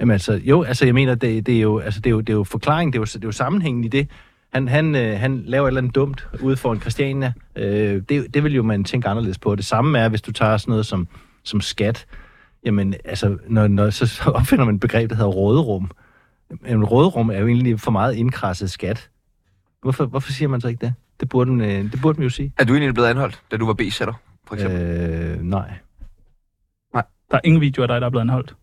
Speaker 4: Jamen altså, jo, altså jeg mener, det, det, er, jo, altså, det, er, jo, det er jo forklaring, det er jo, det er jo sammenhængen i det. Han, han, øh, han laver et eller andet dumt ude foran Christiania. Øh, det, det vil jo man tænke anderledes på. Det samme er, hvis du tager sådan noget som, som skat. Jamen, altså, når, når, så, så opfinder man et begreb, der hedder råderum. Jamen, råderum er jo egentlig for meget indkrasset skat. Hvorfor, hvorfor siger man så ikke det? Det burde, man, øh, det burde man jo sige.
Speaker 1: Er du egentlig blevet anholdt, da du var B-sætter, for eksempel?
Speaker 4: Øh, nej.
Speaker 3: Der er ingen video af dig, der er blevet anholdt.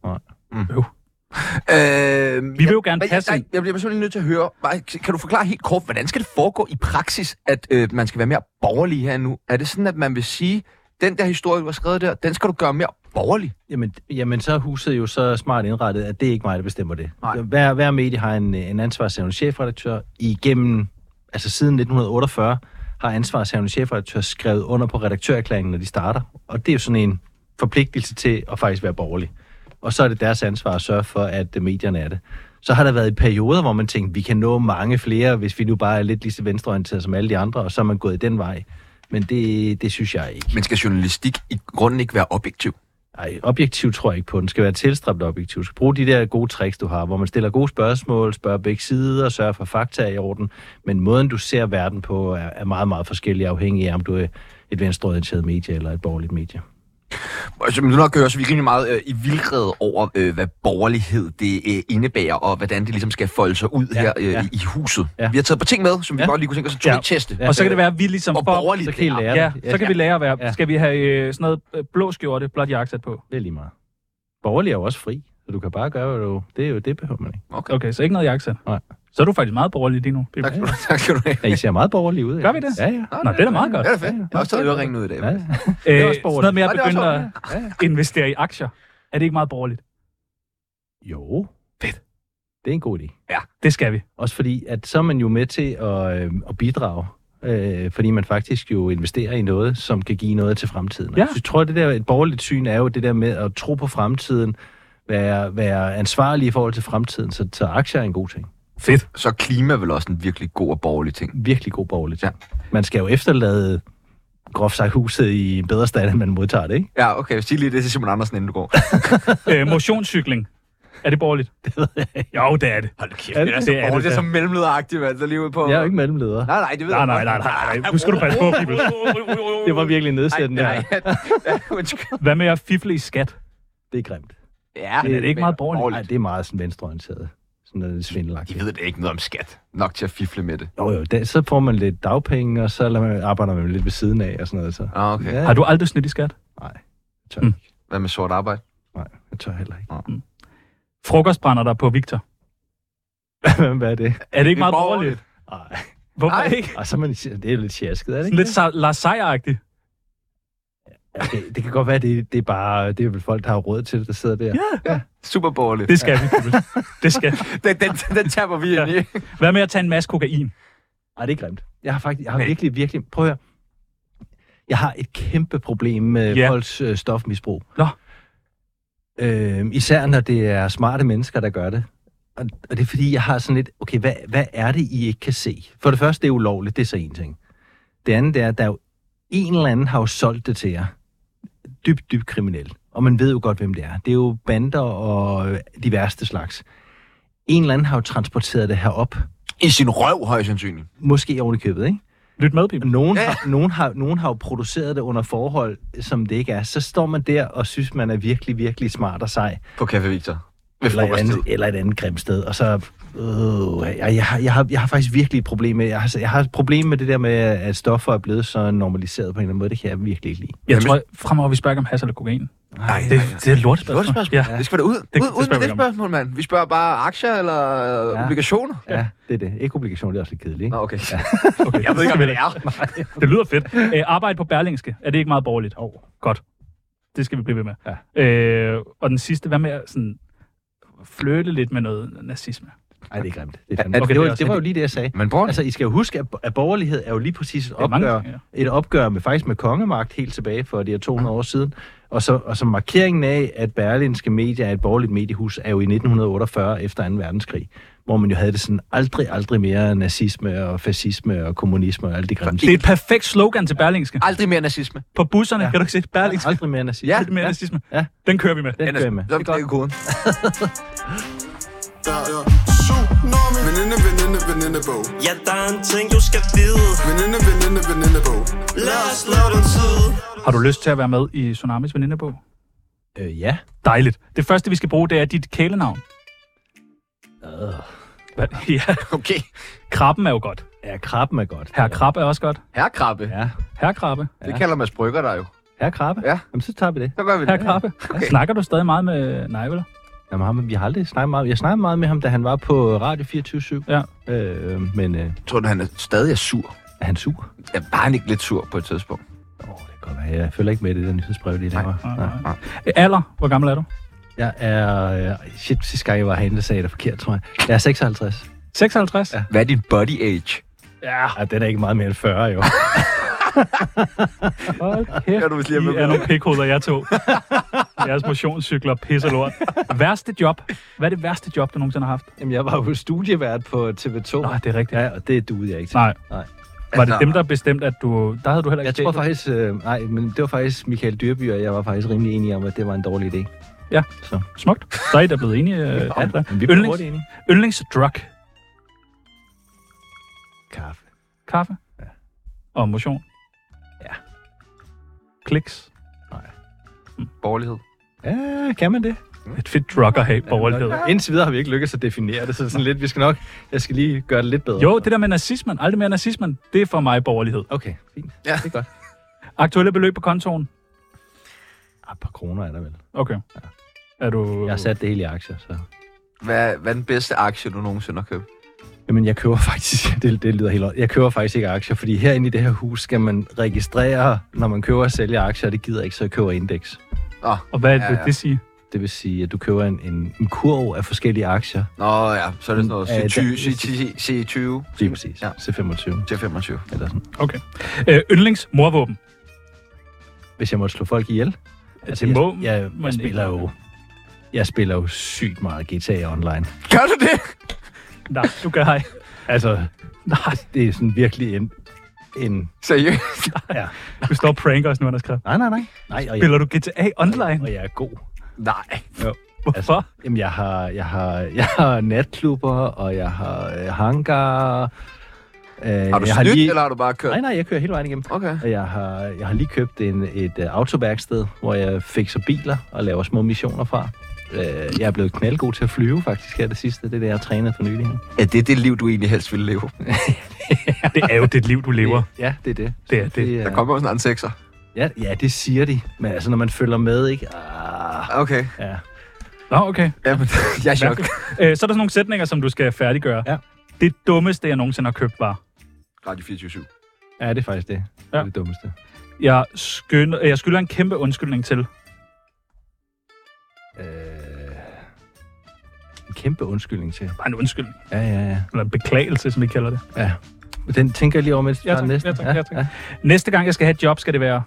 Speaker 1: Øh,
Speaker 3: Vi vil jo gerne passe
Speaker 1: jeg,
Speaker 3: ind.
Speaker 1: jeg bliver simpelthen nødt til at høre, Bare, kan du forklare helt kort, hvordan skal det foregå i praksis, at øh, man skal være mere borgerlig her nu? Er det sådan, at man vil sige, den der historie, du har skrevet der, den skal du gøre mere borgerlig?
Speaker 4: Jamen, jamen, så er huset jo så smart indrettet, at det er ikke mig, der bestemmer det.
Speaker 1: Nej.
Speaker 4: Hver, hver medie har en, øh, en ansvarshavende chefredaktør. Igennem, altså siden 1948, har ansvarshavende chefredaktør skrevet under på redaktørerklæringen, når de starter. Og det er jo sådan en forpligtelse til at faktisk være borgerlig. Og så er det deres ansvar at sørge for, at øh, medierne er det. Så har der været perioder, hvor man tænkte, vi kan nå mange flere, hvis vi nu bare er lidt lige så venstreorienteret som alle de andre, og så er man gået den vej. Men det, det synes jeg ikke.
Speaker 1: Men skal journalistik i grunden ikke være objektiv?
Speaker 4: Ej, objektiv tror jeg ikke på. Den skal være tilstræbt objektiv. Du skal bruge de der gode tricks, du har, hvor man stiller gode spørgsmål, spørger begge sider og sørger for fakta er i orden. Men måden, du ser verden på, er, er meget, meget forskellig afhængig af, om du er et venstreorienteret medie eller et borgerligt medie.
Speaker 1: Altså, men nu nok hører så vi er rimelig meget øh, i vildrede over, øh, hvad borgerlighed det øh, indebærer, og hvordan det ligesom skal folde sig ud ja, her øh,
Speaker 4: ja.
Speaker 1: ja. i i huset.
Speaker 4: Ja.
Speaker 1: Ja. Vi har taget på ting med, som vi
Speaker 4: Ja.
Speaker 1: ja. godt lige kunne tænke os at
Speaker 3: Ja.
Speaker 1: teorietteste.
Speaker 4: Ja.
Speaker 3: Og så kan det være, at vi ligesom
Speaker 1: Altså, Og
Speaker 3: får...
Speaker 1: borgerligt.
Speaker 4: Så kan I lære
Speaker 3: Ja,
Speaker 4: det.
Speaker 3: så kan vi lære at være...
Speaker 4: Ja.
Speaker 3: Skal vi have øh, sådan noget øh, blå skjorte, blåt jakkesæt på?
Speaker 4: Det er lige meget. Borgerlig er jo også fri, så du kan bare gøre, hvad du... Det er jo det, behøver man ikke.
Speaker 1: Okay.
Speaker 3: Okay, så ikke noget jakkesæt.
Speaker 4: Nej.
Speaker 3: Så er du faktisk meget borgerlig lige nu. Peter.
Speaker 1: Tak
Speaker 3: Øh,
Speaker 1: skal du- Tak skal du have.
Speaker 4: Ja, I ser meget borgerlige ud.
Speaker 3: Gør vi det?
Speaker 4: Ja, ja.
Speaker 1: Nå,
Speaker 3: Nå, det er da meget godt.
Speaker 1: Det er da fedt. Jeg har også taget øreringen ud i dag.
Speaker 4: ja. ja.
Speaker 3: Øh,
Speaker 4: Det er også
Speaker 3: sådan noget med at
Speaker 1: Nå, det er også
Speaker 3: begynde at
Speaker 1: borgerligt.
Speaker 3: investere i aktier. Er det ikke meget borgerligt?
Speaker 4: Jo.
Speaker 3: Fedt.
Speaker 4: Det er en god idé.
Speaker 3: Det skal vi.
Speaker 4: Også fordi, at så er man jo med til at, øh, at bidrage, øh, fordi man faktisk jo investerer i noget, som kan give noget til fremtiden.
Speaker 3: Ja.
Speaker 4: Så jeg tror, det der et borgerligt syn er jo det der med at tro på fremtiden, være, være ansvarlig i forhold til fremtiden, så, så aktier er en god ting.
Speaker 3: Fedt.
Speaker 1: Så klima er vel også en virkelig god og borgerlig ting.
Speaker 4: Virkelig god borgerlig ting. Ja. Man skal jo efterlade groft sagt huset i en bedre stand, end man modtager det, ikke?
Speaker 1: Ja, okay. Sig lige det til Simon Andersen, inden du går.
Speaker 3: Øh, motionscykling. Er det borgerligt? Det ved jeg Jo, det er det.
Speaker 1: Hold kæft,
Speaker 4: Er det det?
Speaker 1: Åh, det er så mellemlederagtigt, mand. Der lige ude på...
Speaker 4: Jeg er jo ikke mellemleder.
Speaker 1: Nej, nej, det ved
Speaker 3: Nej,
Speaker 1: jeg
Speaker 3: nej,
Speaker 1: godt.
Speaker 3: nej, nej, nej. Nu skal du passe på, Fibel.
Speaker 4: Det var virkelig nedsættende.
Speaker 1: Nej,
Speaker 4: her.
Speaker 1: nej. Ja, undskyld.
Speaker 3: Hvad med at fifle i skat?
Speaker 4: Det er grimt.
Speaker 1: Ja,
Speaker 3: Men er det ikke meget borgerligt?
Speaker 4: Nej, det er meget sådan venstreorienteret. Sådan noget lidt svindelagtigt.
Speaker 1: De ved da ikke noget om skat. Nok til at fifle med det.
Speaker 4: Jo, jo, da, så får man lidt dagpenge, og så lader man, arbejder man lidt ved siden af og sådan noget. Så.
Speaker 1: Ah, okay.
Speaker 4: Ja,
Speaker 3: Har du aldrig snydt i skat?
Speaker 4: Nej, jeg tør,
Speaker 3: Mm.
Speaker 4: mm.
Speaker 1: Hvad med sort arbejde?
Speaker 4: nej, jeg tør heller ikke.
Speaker 3: Frokostbrænder dig på Victor.
Speaker 4: Hvad er det?
Speaker 3: Er det ikke
Speaker 1: Det er
Speaker 3: meget borgerligt?
Speaker 4: Nej,
Speaker 3: Hvorfor
Speaker 1: Nej.
Speaker 3: ikke?
Speaker 4: og så er man, det er jo lidt sjasket, er det
Speaker 3: Sådan
Speaker 4: ikke?
Speaker 3: lidt Sa- Lars Seier-agtigt.
Speaker 4: Okay, det kan godt være, det, det er bare det er vel folk, der har råd til det, der sidder der.
Speaker 3: Ja,
Speaker 1: Super borgerligt.
Speaker 3: det skal vi. Fibel. Det skal vi.
Speaker 1: Den, den, den taber vi ind i.
Speaker 3: Hvad med at tage en masse kokain?
Speaker 4: Nej, det er grimt. Jeg har faktisk, jeg har
Speaker 1: Nej.
Speaker 4: virkelig, virkelig, prøv at høre. Jeg har et kæmpe problem med
Speaker 3: Ja.
Speaker 4: yeah. folks øh, stofmisbrug.
Speaker 3: Nå.
Speaker 4: Øhm, især når det er smarte mennesker, der gør det. Og, og det er fordi, jeg har sådan lidt, okay, hvad, hvad er det, I ikke kan se? For det første, det er ulovligt, det er så en ting. Det andet det er, at der er jo en eller anden har jo solgt det til jer. Dybt, dybt kriminel. Og man ved jo godt, hvem det er. Det er jo bander og øh, de værste slags. En eller anden har jo transporteret det herop.
Speaker 1: I sin røv, højst sandsynligt.
Speaker 4: Måske oven i købet, ikke?
Speaker 3: Lyt med, Pibel.
Speaker 4: Nogen, ja. har, nogen, har, nogen har jo produceret det under forhold, som det ikke er. Så står man der og synes, man er virkelig, virkelig smart og sej.
Speaker 1: På Café Victor. Ved
Speaker 4: Eller et,
Speaker 1: frokosttid.
Speaker 4: andet, eller et andet grimt sted. Og så... Øh, jeg, jeg, har, jeg, har, jeg har faktisk virkelig et problem med... Jeg har, jeg har et problem med det der med, at stoffer er blevet så normaliseret på en eller anden måde. Det kan jeg virkelig ikke lide.
Speaker 3: Jeg tror, fremover vi spørger ikke om hash eller kokain.
Speaker 1: Nej,
Speaker 3: Det, det er et lortespørgsmål.
Speaker 1: Lortespørgsmål.
Speaker 3: Ja.
Speaker 1: Det skal da ud.
Speaker 3: det
Speaker 1: ud, ud med
Speaker 3: spørger vi
Speaker 1: det
Speaker 3: om.
Speaker 1: spørgsmål, mand. Vi spørger bare aktier eller
Speaker 4: Ja.
Speaker 1: ja. obligationer.
Speaker 4: Ja, det er det. Ikke obligation, det er også lidt kedeligt.
Speaker 1: Nå,
Speaker 4: Ikke?
Speaker 1: okay. Ja. okay. Jeg ved ikke, om det er.
Speaker 3: Det lyder fedt. Æ, arbejde på Berlingske. Er det ikke meget borgerligt? Oh. Godt. Det skal vi blive ved med. Ja. Øh, og den sidste, hvad med at sådan flytte lidt med noget nazisme?
Speaker 4: Nej, det er grimt. Det, er fandme-
Speaker 3: Okay,
Speaker 4: det,
Speaker 3: det er
Speaker 4: var,
Speaker 3: også-
Speaker 4: det var jo lige det, jeg sagde.
Speaker 1: Men bror,
Speaker 4: Altså, I skal jo huske, at, at borgerlighed er jo lige præcis et
Speaker 3: er mange
Speaker 4: opgør,
Speaker 3: ting,
Speaker 4: et opgør med faktisk med kongemagt helt tilbage for de her 200 år siden. Og så, og så markeringen af, at berlinske medier er et borgerligt mediehus, er jo i 1948 efter 2. verdenskrig. hvor man jo havde det sådan, aldrig, aldrig mere nazisme og fascisme og kommunisme og alt det grimme.
Speaker 3: Det er et perfekt slogan til Berlingske.
Speaker 1: Aldrig mere nazisme.
Speaker 3: På busserne, kan du ikke se Berlingske?
Speaker 4: Aldrig mere nazisme. Øh,
Speaker 1: Ja,
Speaker 3: Aldrig mere nazisme.
Speaker 4: Ja.
Speaker 3: Den kører vi med.
Speaker 4: Den kører jeg med.
Speaker 1: Så knækker koden.
Speaker 6: Der er syv navne. Veninde, veninde, venindebog.
Speaker 5: Ja, der er en ting, du skal vide
Speaker 6: Veninde, veninde, venindebog.
Speaker 5: Lad os slå den tid
Speaker 3: Har du lyst til at være med i Tsunamis venindebog?
Speaker 4: Øh, ja.
Speaker 3: Dejligt. Det første, vi skal bruge, det er dit kælenavn.
Speaker 4: Øh.
Speaker 3: Hvad? Ja,
Speaker 1: Okay.
Speaker 3: krabben er jo godt.
Speaker 4: Ja, krabben er godt.
Speaker 3: Herre krabbe er også godt.
Speaker 1: Herrekrabbe.
Speaker 4: Ja,
Speaker 3: Herre krabbe.
Speaker 1: Det kalder man sprygger der jo.
Speaker 4: her krabbe.
Speaker 1: Ja.
Speaker 4: Jamen, så tager vi det.
Speaker 1: Så gør vi
Speaker 3: Herre
Speaker 1: det.
Speaker 3: krabbe. Okay. Snakker du stadig meget med Nigel?
Speaker 4: Jamen, ham, vi har aldrig snakket meget. Jeg snakkede meget med ham, da han var på Radio 24
Speaker 3: Ja.
Speaker 4: Øh, men øh,
Speaker 1: Tror du, han er stadig er sur?
Speaker 4: er han sur?
Speaker 1: Ja, var han ikke lidt sur på et tidspunkt?
Speaker 4: Åh, oh, det kan godt være. Jeg følger ikke med i det der nyhedsbrev lige der.
Speaker 3: Nej,
Speaker 4: Nej.
Speaker 3: nej. Øh, Alder? Hvor gammel er du?
Speaker 4: Jeg er... Øh, shit, sidste gang jeg var herinde, der sagde jeg det forkert, tror jeg. Jeg er 56.
Speaker 3: 56?
Speaker 4: Ja.
Speaker 1: Hvad er din body age?
Speaker 3: ja.
Speaker 4: Ej, den er ikke meget mere end 40, jo.
Speaker 3: Hold kæft,
Speaker 1: Ja, du vil lige have
Speaker 3: I
Speaker 1: med
Speaker 3: er
Speaker 1: på.
Speaker 3: nogle pikhoveder, jeg to. Jeres motionscykler pisser lort. Værste job. Hvad er det værste job, du nogensinde har haft?
Speaker 4: Jamen, jeg var jo studievært på TV2.
Speaker 3: Nå, det er rigtigt.
Speaker 4: Ja, og det duede jeg ikke til.
Speaker 3: Nej.
Speaker 4: Nej.
Speaker 3: Var det
Speaker 1: Altså-
Speaker 3: dem, der bestemte, at du... Der havde du heller ikke
Speaker 4: Jeg tror
Speaker 3: tjent-
Speaker 4: faktisk... Øh, nej, men det var faktisk Michael Dyrby, og jeg var faktisk rimelig enig om, at det var en dårlig idé.
Speaker 3: Smukt. Så er I da blevet enige. Øh, ja,
Speaker 4: men vi blev
Speaker 3: yndlings,
Speaker 4: hurtigt enige.
Speaker 3: yndlingsdrug.
Speaker 4: Kaffe.
Speaker 3: Kaffe. Ja. Og motion.
Speaker 4: Ja.
Speaker 3: Kliks.
Speaker 1: Borgerlighed.
Speaker 4: Ja, kan man det?
Speaker 3: Et fedt drug at have borgerlighed.
Speaker 4: Nå, Indtil videre har vi ikke lykkedes at definere det, så det er sådan lidt, vi skal nok... Jeg skal lige gøre det lidt bedre.
Speaker 3: Jo, det der med nazismen. Aldrig mere nazismen. Det er for mig borgerlighed.
Speaker 4: Okay, fint.
Speaker 1: Ja.
Speaker 4: Det er godt.
Speaker 3: Aktuelle beløb på kontoen.
Speaker 4: Ah, et par kroner er der vel.
Speaker 3: Okay. Er du...
Speaker 4: Jeg har sat det hele i aktier, så...
Speaker 1: Hvad, hvad er den bedste aktie, du nogensinde har købt?
Speaker 4: Jamen, jeg køber faktisk, det, det lyder helt op. jeg køber faktisk ikke aktier, fordi herinde i det her hus skal man registrere, når man køber og sælger aktier, og det gider jeg ikke, så jeg køber indeks.
Speaker 1: Nå,
Speaker 3: Og hvad
Speaker 1: Ja,
Speaker 3: ja,
Speaker 1: ja.
Speaker 3: det, det sige?
Speaker 4: Det vil sige, at du køber en, en, en kurv af forskellige aktier.
Speaker 1: Nå ja, så er det sådan noget
Speaker 4: Mm, øh,
Speaker 1: C20,
Speaker 4: der-
Speaker 1: C10, C20
Speaker 4: Lige præcis.
Speaker 1: Ja.
Speaker 4: Ja. C25
Speaker 1: til 25.
Speaker 4: eller sådan.
Speaker 3: Okay. Øh, yndlingsmorvåben.
Speaker 4: Hvis jeg måtte slå folk ihjel. Altså,
Speaker 3: det må
Speaker 4: jeg, jeg,
Speaker 3: man
Speaker 4: jeg,
Speaker 3: ikke.
Speaker 4: spiller jo, jeg spiller jo sygt meget GTA online.
Speaker 1: Gør du det?
Speaker 3: Nej, du gør ej.
Speaker 4: Altså,
Speaker 3: Nej,
Speaker 4: det er sådan virkelig en... en
Speaker 1: Seriøst?
Speaker 4: ja.
Speaker 3: du står og pranker os nu, Anders Kraft.
Speaker 4: Nej, nej, nej. nej og, jeg,
Speaker 3: Spiller du GTA online?
Speaker 4: og jeg er god.
Speaker 1: Nej.
Speaker 3: Hvorfor?
Speaker 4: Altså, Jamen, jeg har, jeg har, jeg har natklubber, og jeg har øh, hangar. Øh,
Speaker 1: Har du
Speaker 4: jeg
Speaker 1: snydt, lige... eller har du bare kørt?
Speaker 4: Nej, nej, jeg kører hele vejen igennem.
Speaker 1: Okay.
Speaker 4: Og jeg har, jeg har lige købt en, et uh, autoværksted, hvor jeg fikser biler og laver små missioner fra. Uh, jeg er blevet knaldgod til at flyve, faktisk, her det sidste. Det er det, jeg har trænet for nylig. her.
Speaker 1: Ja, det er det liv, du egentlig helst ville leve.
Speaker 3: altså, Det er jo dit liv, du lever.
Speaker 4: Ja, det er det.
Speaker 3: Det er det.
Speaker 4: er,
Speaker 1: Der kommer jo sådan en sekser.
Speaker 4: ja, ja, det siger de. Men altså, når man følger med, ikke? Ah,
Speaker 1: Okay.
Speaker 4: ja.
Speaker 3: Nå, okay.
Speaker 1: Jamen, jeg er chok.
Speaker 3: Mærkeligt. Øh, så er der sådan nogle sætninger, som du skal færdiggøre.
Speaker 4: Ja.
Speaker 3: Det dummeste, jeg nogensinde har købt, var...
Speaker 1: Radio 24
Speaker 4: ja, det er faktisk det. Det
Speaker 3: Ja.
Speaker 4: er det dummeste.
Speaker 3: Jeg, skynder, øh, jeg skylder en kæmpe undskyldning til.
Speaker 4: Uh, en kæmpe undskyldning til.
Speaker 3: Bare en undskyldning.
Speaker 4: Ja, ja, ja.
Speaker 3: Eller en beklagelse, som vi kalder det.
Speaker 4: Ja. Men Den tænker jeg lige over, mens du
Speaker 3: Ja,
Speaker 4: tager
Speaker 3: tak.
Speaker 4: den næste.
Speaker 3: Ja, tak. Ja, tak. Næste gang, jeg skal have et job, skal det være...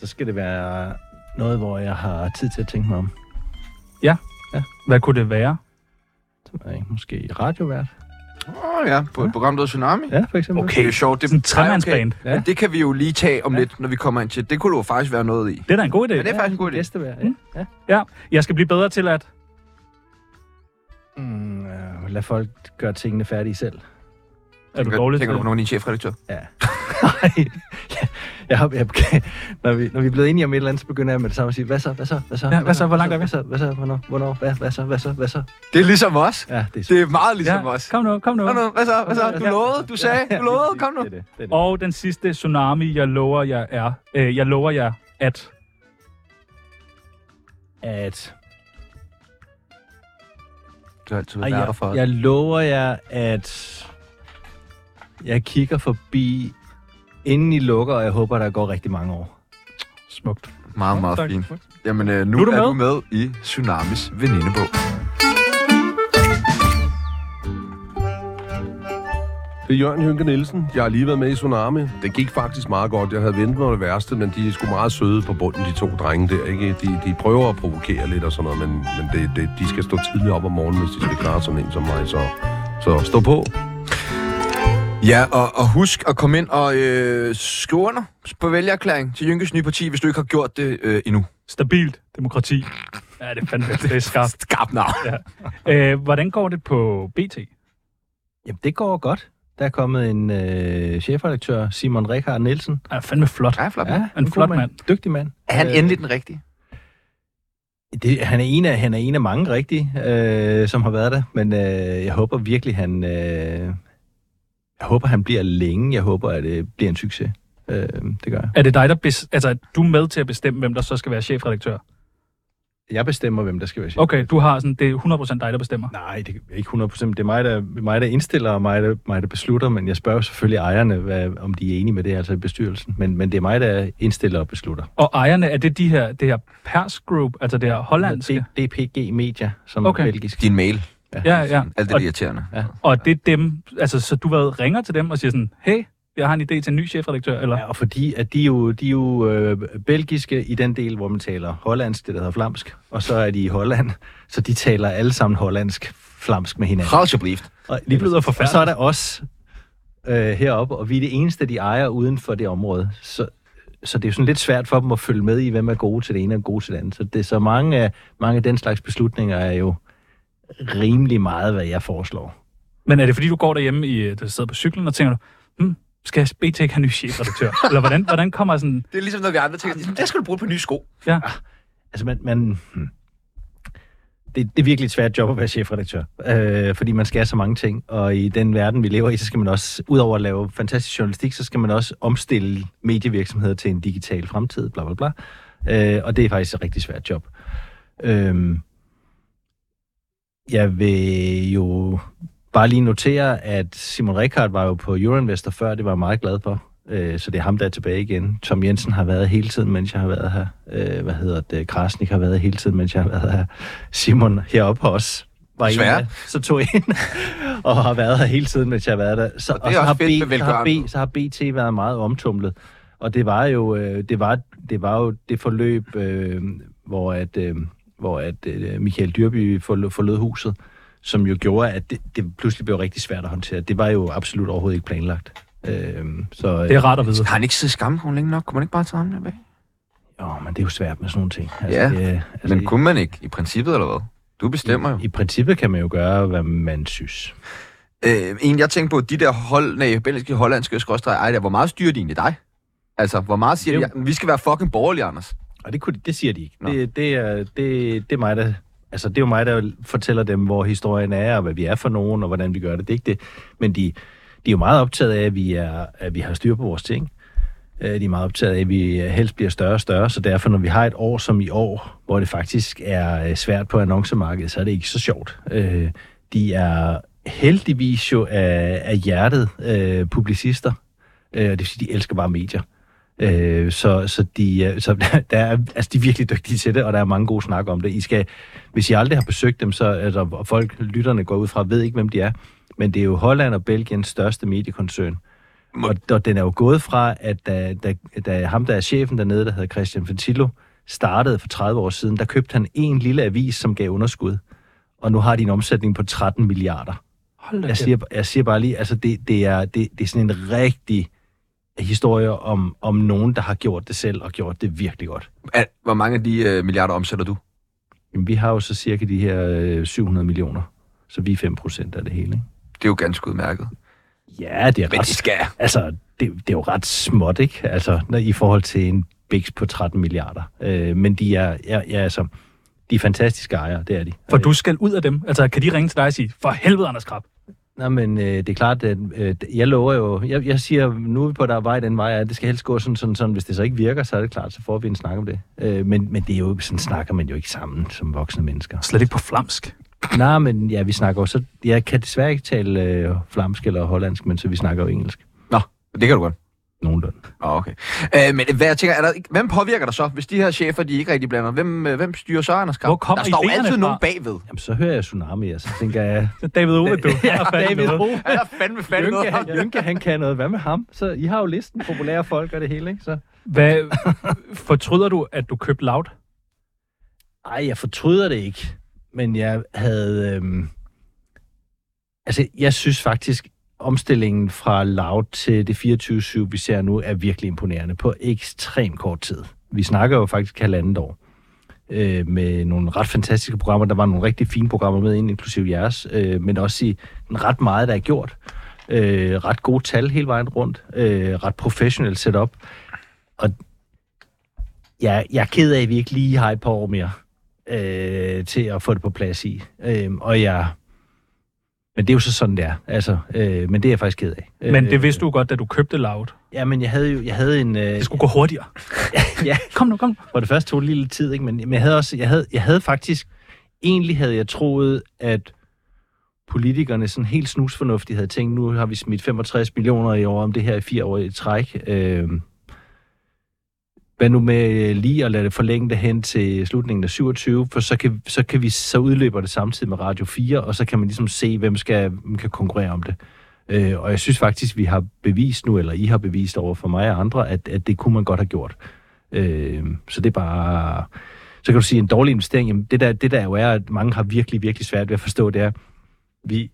Speaker 4: Så skal det være noget, hvor jeg har tid til at tænke mig om.
Speaker 3: Hvad kunne det være?
Speaker 4: Så er jeg ikke måske radiovært.
Speaker 1: Åh oh, ja, på et program, der hedder Tsunami.
Speaker 4: Ja, for eksempel.
Speaker 1: Det er jo sjovt. Det
Speaker 3: Sådan en tremandsband.
Speaker 1: Ja. Men det kan vi jo lige tage om ja. lidt, når vi kommer ind til. Det kunne du jo faktisk være noget i.
Speaker 3: Det er da en god idé.
Speaker 1: Men det er faktisk en god idé. Mm.
Speaker 4: Gæstevær, ja. ja.
Speaker 3: Ja, jeg skal blive bedre til at...
Speaker 4: Mm, øh, lad folk gøre tingene færdige selv.
Speaker 3: Er du
Speaker 1: Tænker-
Speaker 3: dårlig til
Speaker 1: Tænker du på nogen af dine chefredaktører?
Speaker 4: Ja. Nej. jeg, jeg, har- jeg, når, vi, når vi er blevet enige om et eller andet, så begynder jeg med det samme at sige, hvad så, hvad så, hvad så?
Speaker 3: Ja, hvad så? Hvor langt er vi?
Speaker 4: Hvad så, hvad så, hvornår, hvornår, hvad, hvad så, hvad så, hvad så?
Speaker 1: Det er ligesom os.
Speaker 4: Ja, det er
Speaker 1: Det er meget ligesom
Speaker 3: Ja,
Speaker 1: os.
Speaker 3: kom nu, kom nu.
Speaker 1: Kom nu, hvad så? Hvad så? Du
Speaker 4: Ja.
Speaker 1: lovede, du sagde, du lovede, kom nu.
Speaker 4: Det er det. det, er det.
Speaker 3: Og den sidste tsunami, jeg lover jer er... Øh, jeg lover jer, at...
Speaker 4: At,
Speaker 1: Du har altid
Speaker 4: og
Speaker 1: været
Speaker 4: jeg,
Speaker 1: der for os.
Speaker 4: jeg lover jer, at jeg kigger forbi, inden I lukker, og jeg håber, der går rigtig mange år.
Speaker 3: Smukt.
Speaker 1: Meget, meget
Speaker 3: Tak.
Speaker 1: fint. Jamen, øh, nu,
Speaker 3: Nu er du
Speaker 1: er du med i Tsunamis venindebog.
Speaker 7: Det er Jørgen Jynke Nielsen. Jeg har lige været med i Tsunami. Det gik faktisk meget godt. Jeg havde ventet mig det værste, men de er sgu meget søde på bunden, de to drenge der. Ikke? De, de prøver at provokere lidt og sådan noget, men, men det, det, de skal stå tidligt op om morgenen, hvis de skal klare sådan en som mig. Så Så stå på.
Speaker 1: Ja, og, og husk at komme ind og øh, skrive under på vælgererklæring til Jynkes nye parti, hvis du ikke har gjort det øh, endnu.
Speaker 3: Stabilt demokrati. Ja, det er fandme det er skarpt.
Speaker 1: Skarp navn.
Speaker 3: Øh, hvordan går det på BT?
Speaker 4: Jamen, det går godt. Der er kommet en øh, chefredaktør, Simon Rikard Nielsen.
Speaker 3: Er fandme flot.
Speaker 1: Ja, flot.
Speaker 4: Ja,
Speaker 3: en
Speaker 4: god
Speaker 3: flot mand.
Speaker 4: Dygtig mand.
Speaker 1: Er han
Speaker 4: Øh,
Speaker 1: endelig den rigtige?
Speaker 4: Det, han, er en af, han er en af mange rigtige, øh, som har været der, men øh, jeg håber virkelig, han... Øh, jeg håber, han bliver længe. Jeg håber, at det bliver en succes. Øh, det gør jeg.
Speaker 3: Er det dig, der bes- altså, er du med til at bestemme, hvem der så skal være chefredaktør?
Speaker 4: Jeg bestemmer, hvem der skal være chef.
Speaker 3: Okay, du har sådan, det er 100% dig, der bestemmer.
Speaker 4: Nej, det er ikke 100%. Det er mig, der, mig, der indstiller, og mig der, mig, der beslutter, men jeg spørger jo selvfølgelig ejerne, hvad, om de er enige med det, altså i bestyrelsen. Men, men det er mig, der indstiller og beslutter.
Speaker 3: Og ejerne, er det de her, det her Pers Group, altså det her hollandske?
Speaker 4: Det er DPG Media, som
Speaker 3: Okay.
Speaker 4: er belgisk.
Speaker 1: Din mail.
Speaker 3: Ja, ja.
Speaker 1: Alt det
Speaker 3: Og,
Speaker 1: der irriterende.
Speaker 3: og det er dem, altså så du hvad, ringer til dem og siger sådan, hey, jeg har en idé til en ny chefredaktør, eller?
Speaker 4: Ja, og fordi at de er jo, de er jo øh, belgiske i den del, hvor man taler hollandsk, det der hedder flamsk, og så er de i Holland, så de taler alle sammen hollandsk flamsk med hinanden.
Speaker 1: Alsjeblieft.
Speaker 4: Og, lige,
Speaker 3: lyder
Speaker 4: og
Speaker 3: forfærdeligt.
Speaker 4: så er der os øh, heroppe, og vi er det eneste, de ejer uden for det område. Så, så det er jo sådan lidt svært for dem at følge med i, hvem er gode til det ene og gode til det andet. Så, det, så mange, af, mange af den slags beslutninger er jo rimelig meget, hvad jeg foreslår.
Speaker 3: Men er det fordi, du går derhjemme, i, øh, du sidder på cyklen og tænker, hmm, skal BT ikke have en ny chefredaktør? eller hvordan, hvordan kommer sådan,
Speaker 1: Det er ligesom, når vi andre tænker, der skal du bruge på nye sko.
Speaker 3: ja,
Speaker 4: Altså, man... man hmm. det, det er virkelig et svært job at være chefredaktør, øh, fordi man skal have så mange ting, og i den verden, vi lever i, så skal man også, udover at lave fantastisk journalistik, så skal man også omstille medievirksomheder til en digital fremtid, bla bla bla. Øh, og det er faktisk et rigtig svært job. Øh, jeg vil jo bare lige notere, at Simon Rikard var jo på Euroinvestor før, det var jeg meget glad for. Øh, så det er ham, der er tilbage igen. Tom Jensen har været hele tiden, mens jeg har været her. Øh, hvad hedder det? Krasnik har været hele tiden, mens jeg har været her. Simon heroppe også. Var en
Speaker 1: Desværre.
Speaker 4: af, så tog jeg ind og har været her hele tiden, mens jeg har været der. Så,
Speaker 1: Og det er også fedt med
Speaker 4: B, så, har
Speaker 1: velgørenhed.
Speaker 4: B, så har BT været meget omtumlet. Og det var jo, øh, det, var, det, var jo det forløb, øh, hvor at, øh, hvor at øh, Michael Dyrby forlod, forlod huset, som jo gjorde, at det, det pludselig blev rigtig svært at håndtere. Det var jo absolut overhovedet ikke planlagt. Øh, så, øh,
Speaker 3: det er rart at vide.
Speaker 1: Har han ikke siddet i skamkrogen længe nok? Kunne man ikke bare tage ham tilbage?
Speaker 4: åh, men det er jo svært med sådan nogle ting.
Speaker 1: Ja,
Speaker 4: det,
Speaker 1: Altså, Men
Speaker 4: i-
Speaker 1: kunne man ikke, i princippet eller hvad? Du bestemmer jo.
Speaker 4: i, I princippet kan man jo gøre, hvad man synes.
Speaker 1: Øh, en, jeg tænkte på, de der hold, nej, belgiske, hollandske, skråstrej, ej, der, hvor meget styrer de egentlig dig? Altså, hvor meget siger
Speaker 4: Det er
Speaker 1: de, vi skal være fucking borgerlige, Anders?
Speaker 4: Og det, kunne, de- det siger de ikke.
Speaker 1: Nå.
Speaker 4: Det, det, er, det, det er mig, der... Altså, det er jo mig, der fortæller dem, hvor historien er, og hvad vi er for nogen, og hvordan vi gør det. Det er ikke det. Men de, de er jo meget optaget af, at vi, er, at vi har styr på vores ting. Øh, De er meget optaget af, at vi øh, helst bliver større og større, så derfor, når vi har et år som i år, hvor det faktisk er øh, svært på annoncemarkedet, så er det ikke så sjovt. Øh, De er heldigvis jo af, af hjertet øh, publicister, Øh, og det vil sige, de elsker bare medier. Øh, så, så, de, øh, så der, der er, altså, de er virkelig dygtige til det, og der er mange gode snak om det. I skal, hvis I aldrig har besøgt dem, så altså, og folk, lytterne går ud fra, ved ikke, hvem de er. Men det er jo Holland og Belgiens største mediekoncern. Og, og den er jo gået fra, at da, da, da ham, der er chefen dernede, der hedder Christian Fantillo, startede for 30 år siden, der købte han en lille avis, som gav underskud. Og nu har de en omsætning på 13 milliarder.
Speaker 3: Hold da
Speaker 4: Jeg
Speaker 3: kæft.
Speaker 4: siger, jeg siger bare lige, altså det, det, er, det, det er sådan en rigtig historie om, om nogen, der har gjort det selv og gjort det virkelig godt.
Speaker 1: Al, hvor mange af de øh, milliarder omsætter du?
Speaker 4: Jamen, vi har jo så cirka de her øh, 700 millioner, så vi er 5 procent af det hele. Ikke?
Speaker 1: Det er jo ganske udmærket.
Speaker 4: Ja, det er
Speaker 1: Men
Speaker 4: ret,
Speaker 1: det skal jeg.
Speaker 4: altså, det, det er jo ret småt, ikke? Altså, når, i forhold til en biks på 13 milliarder. Øh, men de er, ja, ja, altså, de er fantastiske ejere, det er de.
Speaker 3: For du skal ud af dem. Altså, kan de ringe til dig og sige, for helvede, Anders Krab.
Speaker 4: Nej, men øh, det er klart, at øh, jeg lover jo, jeg, jeg siger, nu er vi på der vej, den vej er, det skal helst gå sådan, sådan, sådan. Hvis det så ikke virker, så er det klart, så får vi en snak om det. Øh, men, men det er jo, sådan snakker man jo ikke sammen som voksne mennesker.
Speaker 3: Slet ikke på flamsk.
Speaker 4: Nej, men ja, vi snakker jo så, jeg kan desværre ikke tale øh, flamsk eller hollandsk, men så vi snakker jo engelsk.
Speaker 1: Nå, det kan du godt.
Speaker 4: Nogenlunde.
Speaker 1: Nå, okay. Øh, men hvad jeg tænker, er der, ikke- hvem påvirker dig så, hvis de her chefer, de ikke rigtig blander? Hvem, øh, hvem styrer så, Anders Kram?
Speaker 3: Hvor kommer
Speaker 1: der står jo
Speaker 3: idéerne
Speaker 1: altid
Speaker 3: fra?
Speaker 1: nogen bagved.
Speaker 4: Jamen, så hører jeg Tsunami, og så tænker jeg...
Speaker 3: David Ove, du. Ja,
Speaker 4: Ove.
Speaker 1: Han er fandme fandme noget.
Speaker 4: Jynke, han, Jynke, han kan noget. Hvad med ham? Så I har jo listen, populære folk og det hele, ikke? Så...
Speaker 3: Hvad, fortryder du, at du købte Loud?
Speaker 4: Ej, jeg fortryder det ikke. Men jeg havde... Øhm, Altså, jeg synes faktisk, omstillingen fra loud til det 24-7, vi ser nu, er virkelig imponerende på ekstrem kort tid. Vi snakker jo faktisk halvandet år øh, med nogle ret fantastiske programmer. Der var nogle rigtig fine programmer med ind, inklusive jeres, øh, men også i en ret meget, der er gjort. Øh, ret gode tal hele vejen rundt. Øh, ret professionelt setup. Og jeg, jeg er ked af, at vi ikke lige har et par år mere øh, til at få det på plads i. Øh, og jeg... Men det er jo så sådan, det er. Altså, øh, men det er jeg faktisk ked af. Øh,
Speaker 3: Men det vidste du godt, da du købte Loud.
Speaker 4: Ja, men jeg havde jo jeg havde en... Øh,
Speaker 3: Det skulle gå hurtigere.
Speaker 4: ja,
Speaker 3: Kom nu, kom nu.
Speaker 4: for det første tog det lige lidt tid, ikke? Men, men jeg havde også, jeg havde, jeg havde faktisk, egentlig havde jeg troet, at politikerne sådan helt snusfornuftigt havde tænkt, nu har vi smidt 65 millioner i år om det her i fire år i træk. Øh, hvad nu med lige at lade det forlænge det hen til slutningen af 27, for så kan, så kan vi, så udløber det samtidig med Radio 4, og så kan man ligesom se, hvem skal, hvem kan konkurrere om det. Øh, og jeg synes faktisk, vi har bevist nu, eller I har bevist over for mig og andre, at, at det kunne man godt have gjort. Øh, så det er bare... Så kan du sige, en dårlig investering, jamen det der, det der jo er, at mange har virkelig, virkelig svært ved at forstå, det er, vi,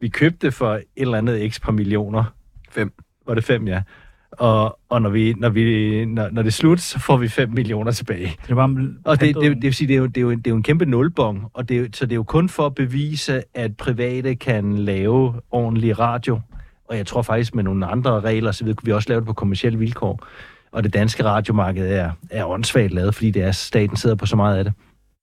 Speaker 4: vi købte for et eller andet x par millioner.
Speaker 1: Fem.
Speaker 4: Var det fem, ja. Og, og når, vi, når, vi, når, når det er slut, så får vi 5 millioner tilbage.
Speaker 3: Det var
Speaker 4: Og det, det, det vil sige, det er jo, det er jo, en, det er jo en kæmpe nulbong, og det er, jo- så det er jo kun for at bevise, at private kan lave ordentlig radio. Og jeg tror faktisk, med nogle andre regler, så videre, kunne vi også lave det på kommersielle vilkår. Og det danske radiomarked er, er åndssvagt lavet, fordi det er, staten sidder på så meget af det.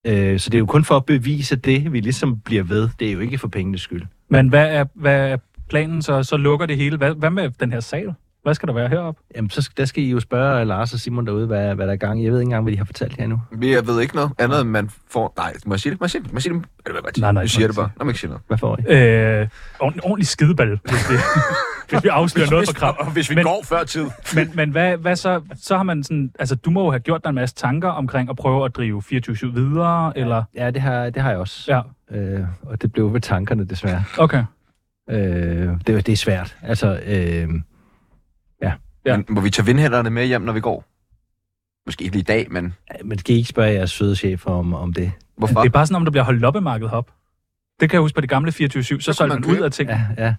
Speaker 4: Øh, så det er jo kun for at bevise det, vi ligesom bliver ved. Det er jo ikke for pengenes skyld.
Speaker 3: Men hvad er, hvad er planen så? Så lukker det hele. Hvad, hvad med den her sal? Hvad skal der være heroppe?
Speaker 4: Jamen, så skal, der skal I jo spørge Lars og Simon derude, hvad, hvad der er gang i. Jeg ved ikke engang, hvad de har fortalt jer nu.
Speaker 1: Men Jeg ved ikke noget andet, end man får... Nej, må jeg sige det? Må jeg sige det? Må jeg sige det? Eller hvad, hvad,
Speaker 3: Nej, nej,
Speaker 1: jeg
Speaker 3: må
Speaker 1: siger
Speaker 3: jeg
Speaker 1: det bare. Nå, må jeg ikke sige noget.
Speaker 4: Hvad får I?
Speaker 3: Øh, ord, en ordentlig skideball, hvis, det, hvis vi afslører noget for kram.
Speaker 1: Og hvis vi
Speaker 3: Men-
Speaker 1: går før tid.
Speaker 3: Men, men hvad, hvad så? Så har man sådan... Altså, du må jo have gjort dig en masse tanker omkring at prøve at drive 24-7 videre, eller...
Speaker 4: Ja, det har, det har jeg også.
Speaker 3: Ja,
Speaker 4: Øh, og det blev ved tankerne, desværre.
Speaker 3: okay.
Speaker 4: Øh, det, det er svært. Altså, øh,
Speaker 1: Ja.
Speaker 3: Ja.
Speaker 1: Men, må vi tage vindhænderne med hjem, når vi går? Måske ikke lige i dag, men
Speaker 4: man skal I ikke spørge jeres søde chef om, om det.
Speaker 1: hvorfor?
Speaker 3: Det er bare sådan, om der bliver holdt loppemarked hop. Det kan jeg huske på det gamle 24-7, så,
Speaker 1: kunne
Speaker 3: solgte
Speaker 1: man
Speaker 3: man ud
Speaker 1: købe-
Speaker 3: af ting. Ja.
Speaker 4: Ja, ja.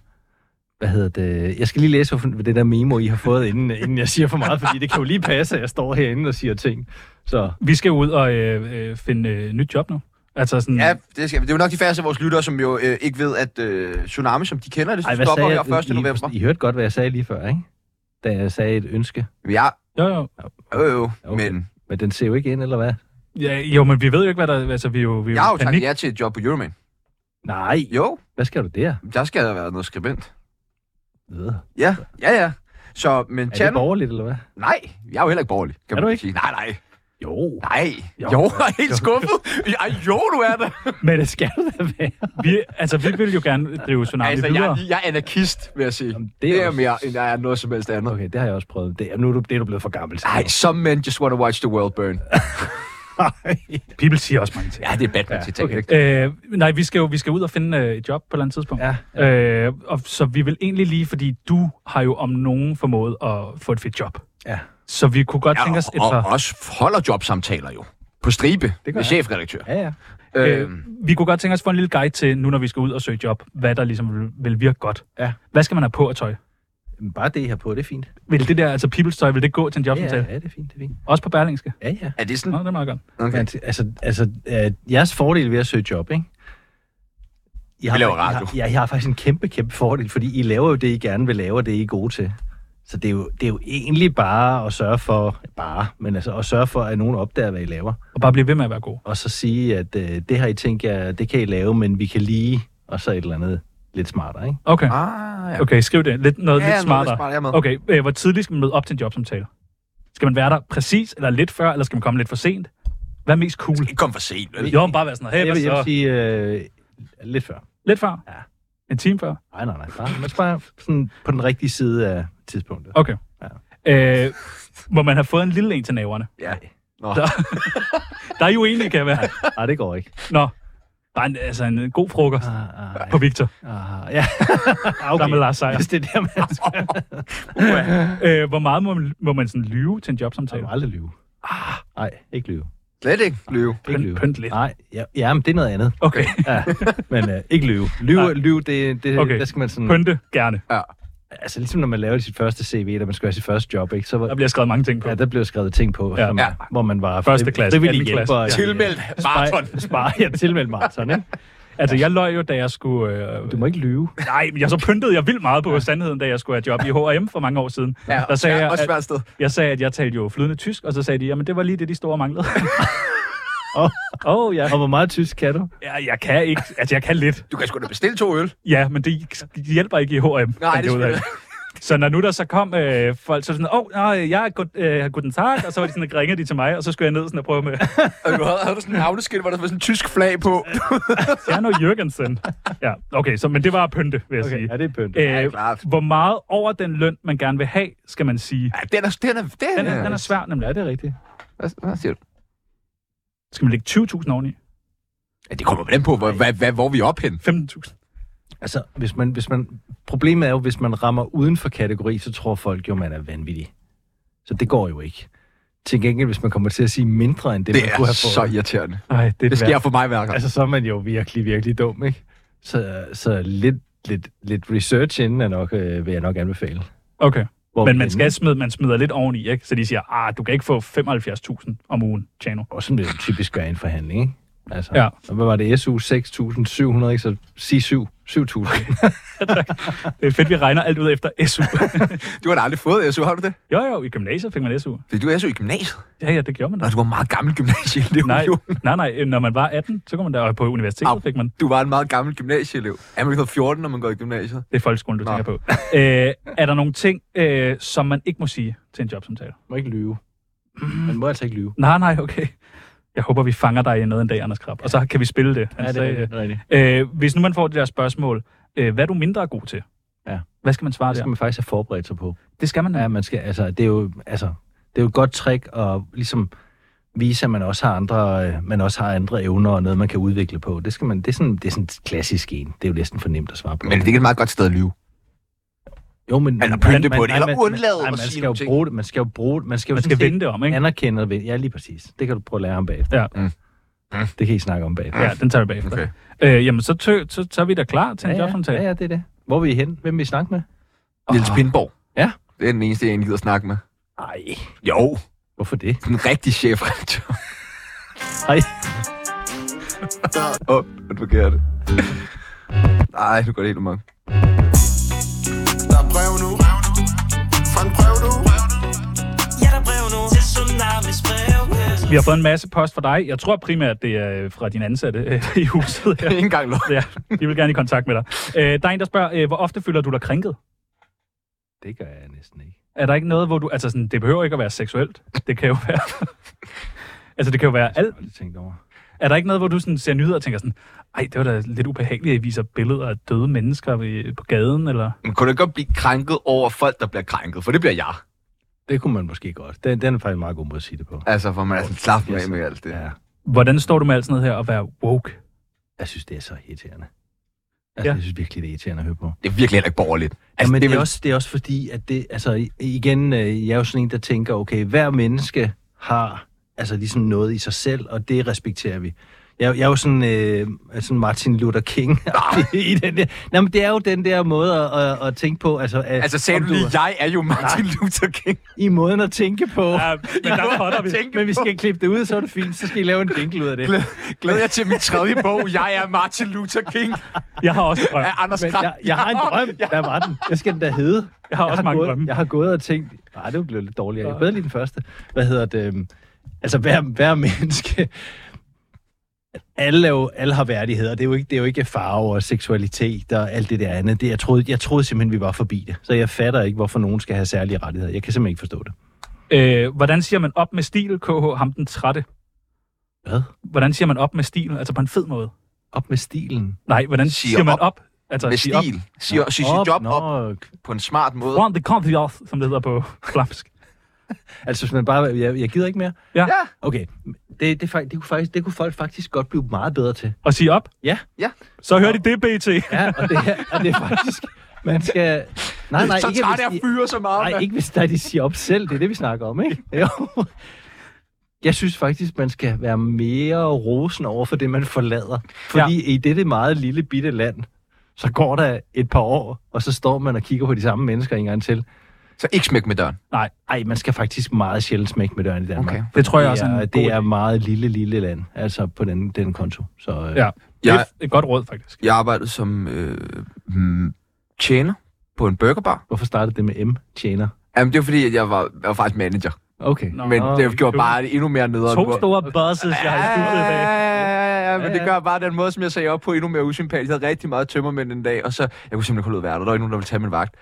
Speaker 4: Hvad hedder det? Jeg skal lige læse hvorfor- det der memo, I har fået, inden, inden jeg siger for meget, fordi det kan jo lige passe, at jeg står herinde og siger ting. Så
Speaker 3: Vi skal ud og øh, øh, finde øh, nyt job nu. Altså sådan,
Speaker 1: Ja, det, skal, vi. det er jo nok de færreste af vores lyttere, som jo øh, ikke ved, at øh, Tsunami, som de kender det, Ej, stopper her 1.
Speaker 4: I,
Speaker 1: november.
Speaker 4: I, hørte godt, hvad jeg sagde lige før, ikke? Da jeg sagde et ønske.
Speaker 1: Ja,
Speaker 3: Jo, jo.
Speaker 1: jo, jo,
Speaker 4: Okay.
Speaker 1: men
Speaker 4: Men den ser jo ikke ind, eller hvad?
Speaker 3: Ja, jo, men vi ved jo ikke, hvad der... Altså, vi er jo, vi er jo
Speaker 1: jeg har jo
Speaker 3: i panik.
Speaker 1: taget ja til et job på Euroman.
Speaker 4: Nej,
Speaker 1: Jo,
Speaker 4: hvad skal du der?
Speaker 1: der skal der være noget skribent.
Speaker 4: Øh.
Speaker 1: Ja, ja, ja. Så, men
Speaker 4: Er det
Speaker 1: Channel...
Speaker 4: borgerligt, eller hvad?
Speaker 1: Nej, jeg er jo heller ikke borgerlig. Kan
Speaker 4: Er du
Speaker 1: man
Speaker 4: ikke?
Speaker 1: Sige. Nej, nej,
Speaker 4: Jo,
Speaker 1: nej. Jo, jeg er helt skuffet. Ej, jo, du er det.
Speaker 3: Men det skal det da være. Vi, altså, vi vil jo gerne drive Tsunami
Speaker 1: Altså,
Speaker 3: altså, videre.
Speaker 1: jeg, jeg er anarkist, vil jeg sige.
Speaker 4: Jamen, det er
Speaker 1: Det er
Speaker 4: også-
Speaker 1: mere, end jeg er noget som helst andet.
Speaker 4: okay, det har jeg også prøvet. Det, er- nu er du, det er du blevet for gammel til.
Speaker 1: Ej, some men just wanna watch the world burn.
Speaker 3: People siger også mange ting.
Speaker 1: Ja, det er Batman-citat,
Speaker 4: okay.
Speaker 1: ikke?
Speaker 3: Øh, nej, vi skal jo vi skal ud og finde øh, et job på et eller andet tidspunkt.
Speaker 4: Ja,
Speaker 3: Øh, og, så vi vil egentlig lige, fordi du har jo om nogen formået at få et fedt job.
Speaker 4: Ja.
Speaker 3: Så vi kunne godt tænke os et
Speaker 1: og, og
Speaker 3: par...
Speaker 1: også holder jobsamtaler jo. På stribe
Speaker 4: gør
Speaker 1: med
Speaker 4: jeg.
Speaker 1: chefredaktør.
Speaker 4: Ja, ja.
Speaker 1: Øh,
Speaker 3: Vi kunne godt tænke os at få en lille guide til, nu når vi skal ud og søge job, hvad der ligesom vil, vil virke godt.
Speaker 4: Ja.
Speaker 3: Hvad skal man have på af tøj?
Speaker 4: Men Bare det, I har på, det er fint.
Speaker 3: Vil det der, altså people's tøj, vil det gå til en
Speaker 4: Ja, ja,
Speaker 3: jobsamtale?
Speaker 4: ja, det er fint, det er fint.
Speaker 3: Også på Berlingske?
Speaker 4: Ja, ja.
Speaker 1: er det
Speaker 3: Nå,
Speaker 1: sådan?
Speaker 3: det er meget godt.
Speaker 1: Okay.
Speaker 4: Men, altså, altså øh, jeres fordel ved at søge job, ikke? I har,
Speaker 1: Vi laver
Speaker 4: I har,
Speaker 1: radio.
Speaker 4: ja, I har faktisk en kæmpe, kæmpe fordel, fordi I laver jo det, I gerne vil lave, og det I er gode til. Så det er, jo, det er jo egentlig bare at sørge for, bare, men altså at sørge for, at nogen opdager, hvad I laver.
Speaker 3: Og bare blive ved med at være god.
Speaker 4: Og så sige, at øh, det har I tænkt jer, det kan I lave, men vi kan lige, og så et eller andet lidt smartere, ikke?
Speaker 3: Okay,
Speaker 1: Ah, ja.
Speaker 3: okay skriv det. Lidt, noget
Speaker 1: Ja,
Speaker 3: lidt
Speaker 1: noget
Speaker 3: smartere.
Speaker 1: lidt smartere, jeg er med.
Speaker 3: Okay, øh, hvor tidligt skal man møde op til en jobsamtale? Skal man være der præcis, eller lidt før, eller skal man komme lidt for sent? Hvad er mest cool?
Speaker 1: Ikke kom for sent. vel?
Speaker 3: Jo, men bare være sådan, hey,
Speaker 4: Jeg
Speaker 3: hvad
Speaker 4: vil, jeg vil
Speaker 3: så?
Speaker 4: sige øh, lidt før.
Speaker 3: Lidt før?
Speaker 4: Ja.
Speaker 3: En time før?
Speaker 4: Nej, nej, nej. Bare, man skal bare sådan på den rigtige side af tidspunktet.
Speaker 3: Okay.
Speaker 4: Ja.
Speaker 3: Øh, må man have fået en lille en til naverne?
Speaker 1: Ja. Nå.
Speaker 3: Der er jo egentlig, kan være.
Speaker 4: Nej, det går ikke.
Speaker 3: Nå, bare en, altså en god frokost
Speaker 4: Ah, ah,
Speaker 3: på Victor,
Speaker 4: Ah, ja.
Speaker 3: okay. sammen med Lars Seier.
Speaker 4: Hvis det er der, man skal.
Speaker 3: Øh, hvor meget må man, må man sådan lyve til en
Speaker 4: Man
Speaker 3: jobsamtale?
Speaker 4: må aldrig lyve. Nej, ikke lyve.
Speaker 1: Slet ikke lyve.
Speaker 3: Ah. Pynt- pynt lidt.
Speaker 4: Nej, ja, ja, men det er noget andet.
Speaker 3: Okay.
Speaker 4: Ja, men øh, ikke lyve. Lyve, lyve det, det
Speaker 3: Okay.
Speaker 4: okay. der skal man sådan...
Speaker 3: Pynte gerne.
Speaker 4: Altså ligesom når man laver sit første CV, da man skal have sit første job, ikke? Så, var-
Speaker 3: Der bliver skrevet mange ting på.
Speaker 4: Ja, der blev skrevet ting på,
Speaker 3: Ja.
Speaker 4: ja. som,
Speaker 1: Ja.
Speaker 4: ja. hvor man var
Speaker 3: Første klasse,
Speaker 4: frivillig
Speaker 3: anden klasse.
Speaker 4: hjælper. i-
Speaker 1: Tilmeldt maraton.
Speaker 4: Spar, spar, ja, tilmeldt maraton, ikke?
Speaker 3: Altså, jeg løj jo, da jeg skulle... Øh,
Speaker 4: Du må ikke lyve.
Speaker 3: Nej, men jeg så pyntede jeg vildt meget på ja. sandheden, da jeg skulle have job i H&M for mange år siden.
Speaker 1: Ja,
Speaker 3: der sagde
Speaker 1: ja,
Speaker 3: jeg,
Speaker 1: også
Speaker 3: at,
Speaker 1: svært sted.
Speaker 3: jeg sagde, at jeg talte jo flydende tysk, og så sagde de, jamen det var lige det, de store manglede. Åh, oh. oh, ja.
Speaker 4: Og hvor meget tysk kan du?
Speaker 3: ja. Jeg kan ikke. Altså, jeg kan lidt.
Speaker 1: Du kan sgu da bestille to øl.
Speaker 3: Ja, men det hjælper ikke i H&M. fandt jeg
Speaker 1: det
Speaker 3: ud af.
Speaker 1: selvfølgelig.
Speaker 3: Så når nu der så kom øh, folk, så var sådan, åh, oh, nej, jeg er god, øh, guten tag, og så var de sådan, ringede de til mig, og så skulle jeg ned sådan og prøve med,
Speaker 1: Og du havde, havde du sådan en navneskilt, hvor der var sådan en tysk flag på.
Speaker 3: Øh, Tjerno Jørgensen. Ja, okay, så, men det var at pynte, vil jeg sige.
Speaker 4: Ja, det er pynt.
Speaker 3: Øh,
Speaker 1: klart.
Speaker 3: hvor meget over den løn, man gerne vil have, skal man sige.
Speaker 1: Ja, den er, den er,
Speaker 3: Den er, den er svær,
Speaker 4: Ja,
Speaker 3: nemlig.
Speaker 4: det er rigtigt.
Speaker 1: Hvad, hvad siger du?
Speaker 3: Skal man lægge 20.000 oveni?
Speaker 1: Ja, det kommer vel an på, hvor, hvad, hvad, hvor vi er op hen.
Speaker 3: 15.000?
Speaker 4: Altså, hvis man, hvis man, problemet er jo, hvis man rammer uden for kategori, så tror folk jo, man er vanvittig. Så det går jo ikke. Til gengæld, hvis man kommer til at sige mindre end det,
Speaker 1: Det
Speaker 4: man
Speaker 1: er
Speaker 4: kunne have fået,
Speaker 1: så irriterende.
Speaker 3: Nej, det er
Speaker 1: Det sker for mig hver gang.
Speaker 4: altså, så er man jo virkelig, virkelig dum, ikke? Så, så lidt, lidt, lidt research inden er nok, øh, vil jeg nok anbefale.
Speaker 3: Okay.
Speaker 4: Hvor
Speaker 3: Men
Speaker 4: vi
Speaker 3: man
Speaker 4: ender.
Speaker 3: skal smide, man smider lidt oveni, ikke? Så de siger, ah, du kan ikke få 75.000 om ugen, Tjano.
Speaker 4: også som det typisk gør i en forhandling, ikke? Altså,
Speaker 3: Ja.
Speaker 4: og hvad var det? SU 6.700, ikke? Så sig 7. 7.000.
Speaker 3: Det er fedt, vi regner alt ud efter SU.
Speaker 1: Du har da aldrig fået SU, har du det?
Speaker 3: jo, jo, i gymnasiet fik man SU.
Speaker 1: Fik du SU i gymnasiet?
Speaker 3: Ja, ja, det gjorde man
Speaker 1: Nå,
Speaker 3: da.
Speaker 1: du var en meget gammel gymnasieelev.
Speaker 3: Nej,
Speaker 1: jo.
Speaker 3: nej, nej, når man var 18, så kom man der, og på
Speaker 1: Au.
Speaker 3: universitetet fik man,
Speaker 1: Du var en meget gammel gymnasieelev. Er man ikke blevet 14, når man går i gymnasiet?
Speaker 3: det er folkeskolen, du
Speaker 1: Nå.
Speaker 3: tænker på. Æ, er der nogle ting, øh, som man ikke må sige til en jobsamtale?
Speaker 4: må ikke lyve. Man må altså ikke lyve.
Speaker 3: Nej, nej, okay. Jeg håber, vi fanger dig i noget en dag, Anders Krab. Og så kan vi spille det. Han
Speaker 4: Ja, det
Speaker 3: sagde,
Speaker 4: er rigtigt. rigtigt.
Speaker 3: Øh, hvis nu man får det der spørgsmål, øh, hvad er du mindre god til?
Speaker 4: Ja.
Speaker 3: Hvad skal man svare
Speaker 4: Det skal
Speaker 3: der?
Speaker 4: man faktisk have forberedt sig på.
Speaker 3: Det skal man.
Speaker 4: Ja, man skal, altså, det er jo, altså, det er jo et godt trick at ligesom vise, at man også har andre, øh, man også har andre evner og noget, man kan udvikle på. Det, skal man, det, er sådan, det er sådan et klassisk en. Det er jo næsten for nemt at svare på.
Speaker 1: Men det er ikke et meget godt sted at lyve.
Speaker 4: jo, men,
Speaker 1: Eller pynte på det,
Speaker 4: nej,
Speaker 1: eller
Speaker 4: man-
Speaker 1: undlade
Speaker 4: nej,
Speaker 1: at
Speaker 4: man
Speaker 1: sige
Speaker 4: skal
Speaker 1: nogle
Speaker 4: jo
Speaker 1: ting.
Speaker 4: bruge det, man skal jo bruge det, man skal jo
Speaker 3: Man
Speaker 4: sådan
Speaker 3: skal
Speaker 4: set-
Speaker 3: vende det om, ikke?
Speaker 4: anerkender ved. Ja, lige præcis. Det kan du prøve at lære ham bagefter.
Speaker 3: Ja.
Speaker 1: Mm.
Speaker 4: Det kan I snakke om bagefter.
Speaker 3: Ja, den tager vi bagefter.
Speaker 1: Okay.
Speaker 3: Øh, jamen, så, tø, så, så er vi da klar til en ja,
Speaker 4: ja,
Speaker 3: jobsamtale.
Speaker 4: ja, ja, det er det. Hvor er vi hen? Hvem vil I snakke med?
Speaker 1: Niels Pindborg.
Speaker 4: Ja.
Speaker 1: Det er den eneste, jeg egentlig gider snakke med.
Speaker 4: Nej.
Speaker 1: Jo,
Speaker 4: Hvorfor det?
Speaker 1: den rigtige chefredaktør.
Speaker 4: Hej.
Speaker 1: Åh, oh, du forkert. Nej, nu går det helt umang.
Speaker 6: Der er brev nu. Fra en brev du.
Speaker 5: Ja, der er brev nu til Tsunamis brevkasse.
Speaker 3: Vi har fået en masse post fra dig. Jeg tror primært, det er øh, fra din ansatte øh, i huset her.
Speaker 1: Ikke engang lov.
Speaker 3: Ja, de vil gerne i kontakt med dig. Øh, der er en, der spørger, øh, hvor ofte føler du dig krænket?
Speaker 4: Det gør jeg næsten ikke.
Speaker 3: Er der ikke noget, hvor du... Altså, sådan, det behøver ikke at være seksuelt. Det kan jo være... altså, det kan jo være alt.
Speaker 4: Jeg har aldrig tænkt over.
Speaker 3: Er der ikke noget, hvor du sådan ser nyheder og tænker sådan, ej, det var da lidt ubehageligt, at I viser billeder af døde mennesker ved, på gaden, eller...
Speaker 1: Man kunne da godt blive krænket over folk, der bliver krænket, for det bliver jeg.
Speaker 4: Det kunne man måske godt. Den, den er faktisk en meget god måde at sige det på.
Speaker 1: Altså, for man er sådan slap med, med alt det.
Speaker 4: Ja.
Speaker 3: Hvordan står du med alt sådan noget her at være woke?
Speaker 4: Jeg synes, det er så irriterende. Altså,
Speaker 3: Ja.
Speaker 4: ja. Jeg synes virkelig, det er irriterende at høre på.
Speaker 1: Det er virkelig heller ikke borgerligt.
Speaker 4: Altså, ja, men det er,
Speaker 1: vel-
Speaker 4: også, det er også fordi, at det, altså i- igen, øh, jeg er jo sådan en, der tænker, okay, hver menneske har altså ligesom noget i sig selv, og det respekterer vi. Jeg, jeg er jo sådan, øh, sådan Martin Luther King
Speaker 1: Ah.
Speaker 4: i den der. Nej, men det er jo den der måde at, at, at tænke på. Altså, at,
Speaker 1: Altså, sagde
Speaker 4: om
Speaker 1: du lige, jeg er jo Martin Luther King.
Speaker 4: I måden at tænke på. Ja,
Speaker 3: men der potter vi.
Speaker 1: tænke
Speaker 4: men vi
Speaker 1: på.
Speaker 4: skal klippe det ud, så er det fint. Så skal I lave en jingle ud af det.
Speaker 1: Glæder jeg til min tredje bog, Jeg er Martin Luther King
Speaker 3: Jeg har også drøm.
Speaker 1: af Anders
Speaker 4: Men
Speaker 1: Kram.
Speaker 4: jeg, jeg har en drøm. Der var den. Jeg skal den da hedde.
Speaker 3: Jeg har også mange
Speaker 4: gået,
Speaker 3: drømme.
Speaker 4: Jeg har gået og tænkt, nej, det blev lidt dårligere. Jeg kan bedre lige den første. Hvad hedder det? øhm, Altså, hver, hver menneske... Alle, er jo, alle har værdigheder. Det er, jo ikke, det er jo ikke farve og seksualitet og alt det der andet. Det, jeg, troede, jeg troede simpelthen, vi var forbi det. Så jeg fatter ikke, hvorfor nogen skal have særlige rettigheder. Jeg kan simpelthen ikke forstå det.
Speaker 3: Øh, hvordan siger man op med stil, KH, ham den trætte?
Speaker 4: Hvad?
Speaker 3: Hvordan siger man op med stil, altså på en fed måde?
Speaker 4: Op med stilen.
Speaker 3: Nej, hvordan
Speaker 1: Siger
Speaker 3: siger, siger man
Speaker 1: op.
Speaker 3: op? Altså,
Speaker 1: Med
Speaker 3: siger
Speaker 1: stil. Sig, sig sit job
Speaker 4: nå,
Speaker 1: op på en smart måde.
Speaker 3: Op. Run the confiance, som det hedder på flamsk.
Speaker 4: Altså, hvis man bare... Jeg, jeg gider ikke mere.
Speaker 3: Ja.
Speaker 1: Ja.
Speaker 4: Okay. Det, det, fak- det, kunne faktisk, det kunne folk faktisk godt blive meget bedre til.
Speaker 3: Og sige op?
Speaker 4: Ja.
Speaker 1: Ja.
Speaker 3: Så hører de det, BT.
Speaker 4: Ja, og det, er, og det er faktisk... Man skal... Nej, nej,
Speaker 1: så
Speaker 4: ikke,
Speaker 1: træt
Speaker 4: hvis
Speaker 1: jeg
Speaker 4: de,
Speaker 1: fyre så meget.
Speaker 4: nej,
Speaker 1: mand.
Speaker 4: ikke hvis der, de siger op selv. Det er det, vi snakker om, ikke? Jo. Jeg synes faktisk, man skal være mere rosen over for det, man forlader. Fordi ja. i dette meget lille bitte land, så går der et par år, og så står man og kigger på de samme mennesker en gang til.
Speaker 1: Så ikke smæk med døren.
Speaker 3: Nej,
Speaker 4: Ej, man skal faktisk meget sjældent smække med døren i Danmark.
Speaker 1: Okay.
Speaker 4: Okay.
Speaker 3: det tror jeg også
Speaker 4: det
Speaker 3: er
Speaker 4: er,
Speaker 3: en god
Speaker 4: det er
Speaker 3: idé.
Speaker 4: meget lille, lille land, altså på den, den konto. Så, øh,
Speaker 3: Ja. Det er
Speaker 1: Jeg-
Speaker 3: et godt råd, faktisk.
Speaker 1: Jeg arbejdede som øh, mm, tjener på en burgerbar.
Speaker 4: Hvorfor startede det med M? Tjener.
Speaker 1: Jamen, det var fordi, at jeg var, jeg var faktisk manager.
Speaker 4: Okay.
Speaker 3: Nå,
Speaker 1: Men det gjorde
Speaker 3: okay.
Speaker 1: bare det endnu mere nederen.
Speaker 3: To store bosses, jeg har i studiet i
Speaker 1: Ja,
Speaker 3: dag.
Speaker 1: ja, ja, ja, men
Speaker 4: Ja,
Speaker 1: det
Speaker 4: ja.
Speaker 1: gør bare den måde, som jeg sagde op på, endnu mere usympatisk. Jeg havde rigtig meget tømmermænd en dag, og så jeg kunne simpelthen ikke holde ud at være der. Der var ikke nogen, der ville tage min vagt.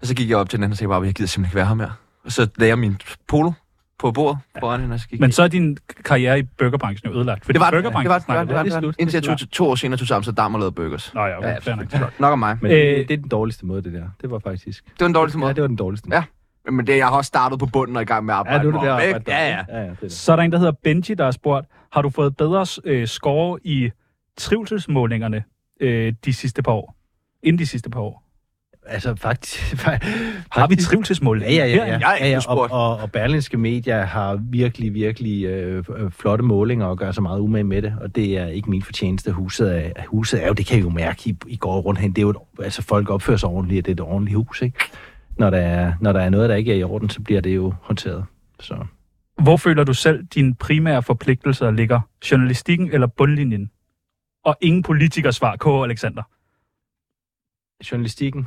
Speaker 1: Og så gik jeg op til den anden og sagde bare, jeg gider simpelthen ikke være her mere. Og så lagde jeg min polo på bordet foran hende, og så gik
Speaker 3: Men
Speaker 1: jeg.
Speaker 3: så er din karriere i burgerbranchen jo ødelagt. Fordi
Speaker 1: det var den, det var den,
Speaker 3: burgerbranchen
Speaker 1: det var den,
Speaker 3: snakker
Speaker 1: det var den, det var den.
Speaker 4: slut.
Speaker 1: Indtil jeg tog, to år senere tog sammen, så Dam og lavede burgers.
Speaker 3: Nå ja, okay,
Speaker 1: Ja,
Speaker 3: fair nok.
Speaker 1: Nok om mig.
Speaker 4: Men øh,
Speaker 3: Øh,
Speaker 4: det, det er den dårligste måde, det der. Det var faktisk...
Speaker 1: Det var en dårlig
Speaker 4: Ja,
Speaker 1: måde.
Speaker 4: det var den dårligste
Speaker 1: Ja, Men det, jeg har også startet på bunden og i gang med at
Speaker 4: ja
Speaker 1: arbejde.
Speaker 4: nu er det
Speaker 1: mig
Speaker 4: der
Speaker 1: op, ikke?
Speaker 4: arbejde. der-
Speaker 1: Ja, ja.
Speaker 4: ja, ja det er det.
Speaker 3: Så er der en, der hedder Benji, der har spurgt, har du fået bedre øh, score i trivselsmålingerne øh, de sidste par år? Inden de sidste par år.
Speaker 4: Altså, faktisk... Har
Speaker 3: Har vi trivselsmålinger?
Speaker 4: Ja, ja, ja. ja.
Speaker 3: Her?
Speaker 1: Jeg er ikke
Speaker 4: ja, ja.
Speaker 1: blevet
Speaker 4: Og,
Speaker 1: spurgt.
Speaker 4: og, og Berlingske Media har virkelig, virkelig øh, øh, flotte målinger og gør sig meget umage med det, og det er ikke min fortjeneste. Huset er, huset er jo, det kan I jo mærke, I, I går rundt hen. Det er jo et, altså, folk opfører sig ordentligt, og det er et ordentligt hus, ikke? Når der, er, når der er noget, der ikke er i orden, så bliver det jo håndteret. Så.
Speaker 3: Hvor føler du selv, dine primære forpligtelser ligger? Journalistikken eller bundlinjen? Og ingen politikers svar, K. Alexander.
Speaker 4: Journalistikken.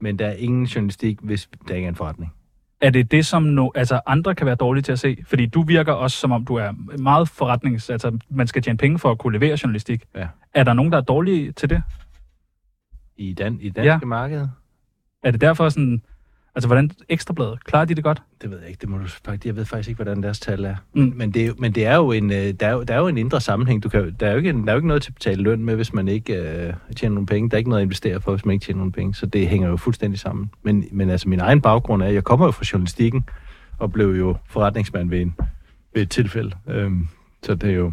Speaker 4: Men der er ingen journalistik, hvis der ikke er en forretning.
Speaker 3: Er det det, som no, altså andre kan være dårlige til at se? Fordi du virker også, som om du er meget forretnings... Altså, man skal tjene penge for at kunne levere journalistik.
Speaker 4: Ja.
Speaker 3: Er der nogen, der er dårlige til det?
Speaker 4: I, dan, i danske
Speaker 3: Ja.
Speaker 4: ja. marked?
Speaker 3: Er det derfor sådan... Altså, hvordan ekstrabladet? Klarer de det godt?
Speaker 4: Det ved jeg ikke, det må du faktisk, jeg ved faktisk ikke, hvordan deres tal er.
Speaker 3: Mm.
Speaker 4: Mm. Men, det, er jo- men det er jo en, øh, der er jo, der er jo en indre sammenhæng. Du kan, jo- der, er jo ikke, en- der er jo ikke noget til at betale løn med, hvis man ikke øh, tjener nogle penge. Der er ikke noget at investere for, hvis man ikke tjener nogle penge. Så det hænger jo fuldstændig sammen. Men, men altså, min egen baggrund er, at jeg kommer jo fra journalistikken, og blev jo forretningsmand ved, en, ved et tilfælde. Øhm, så det er jo...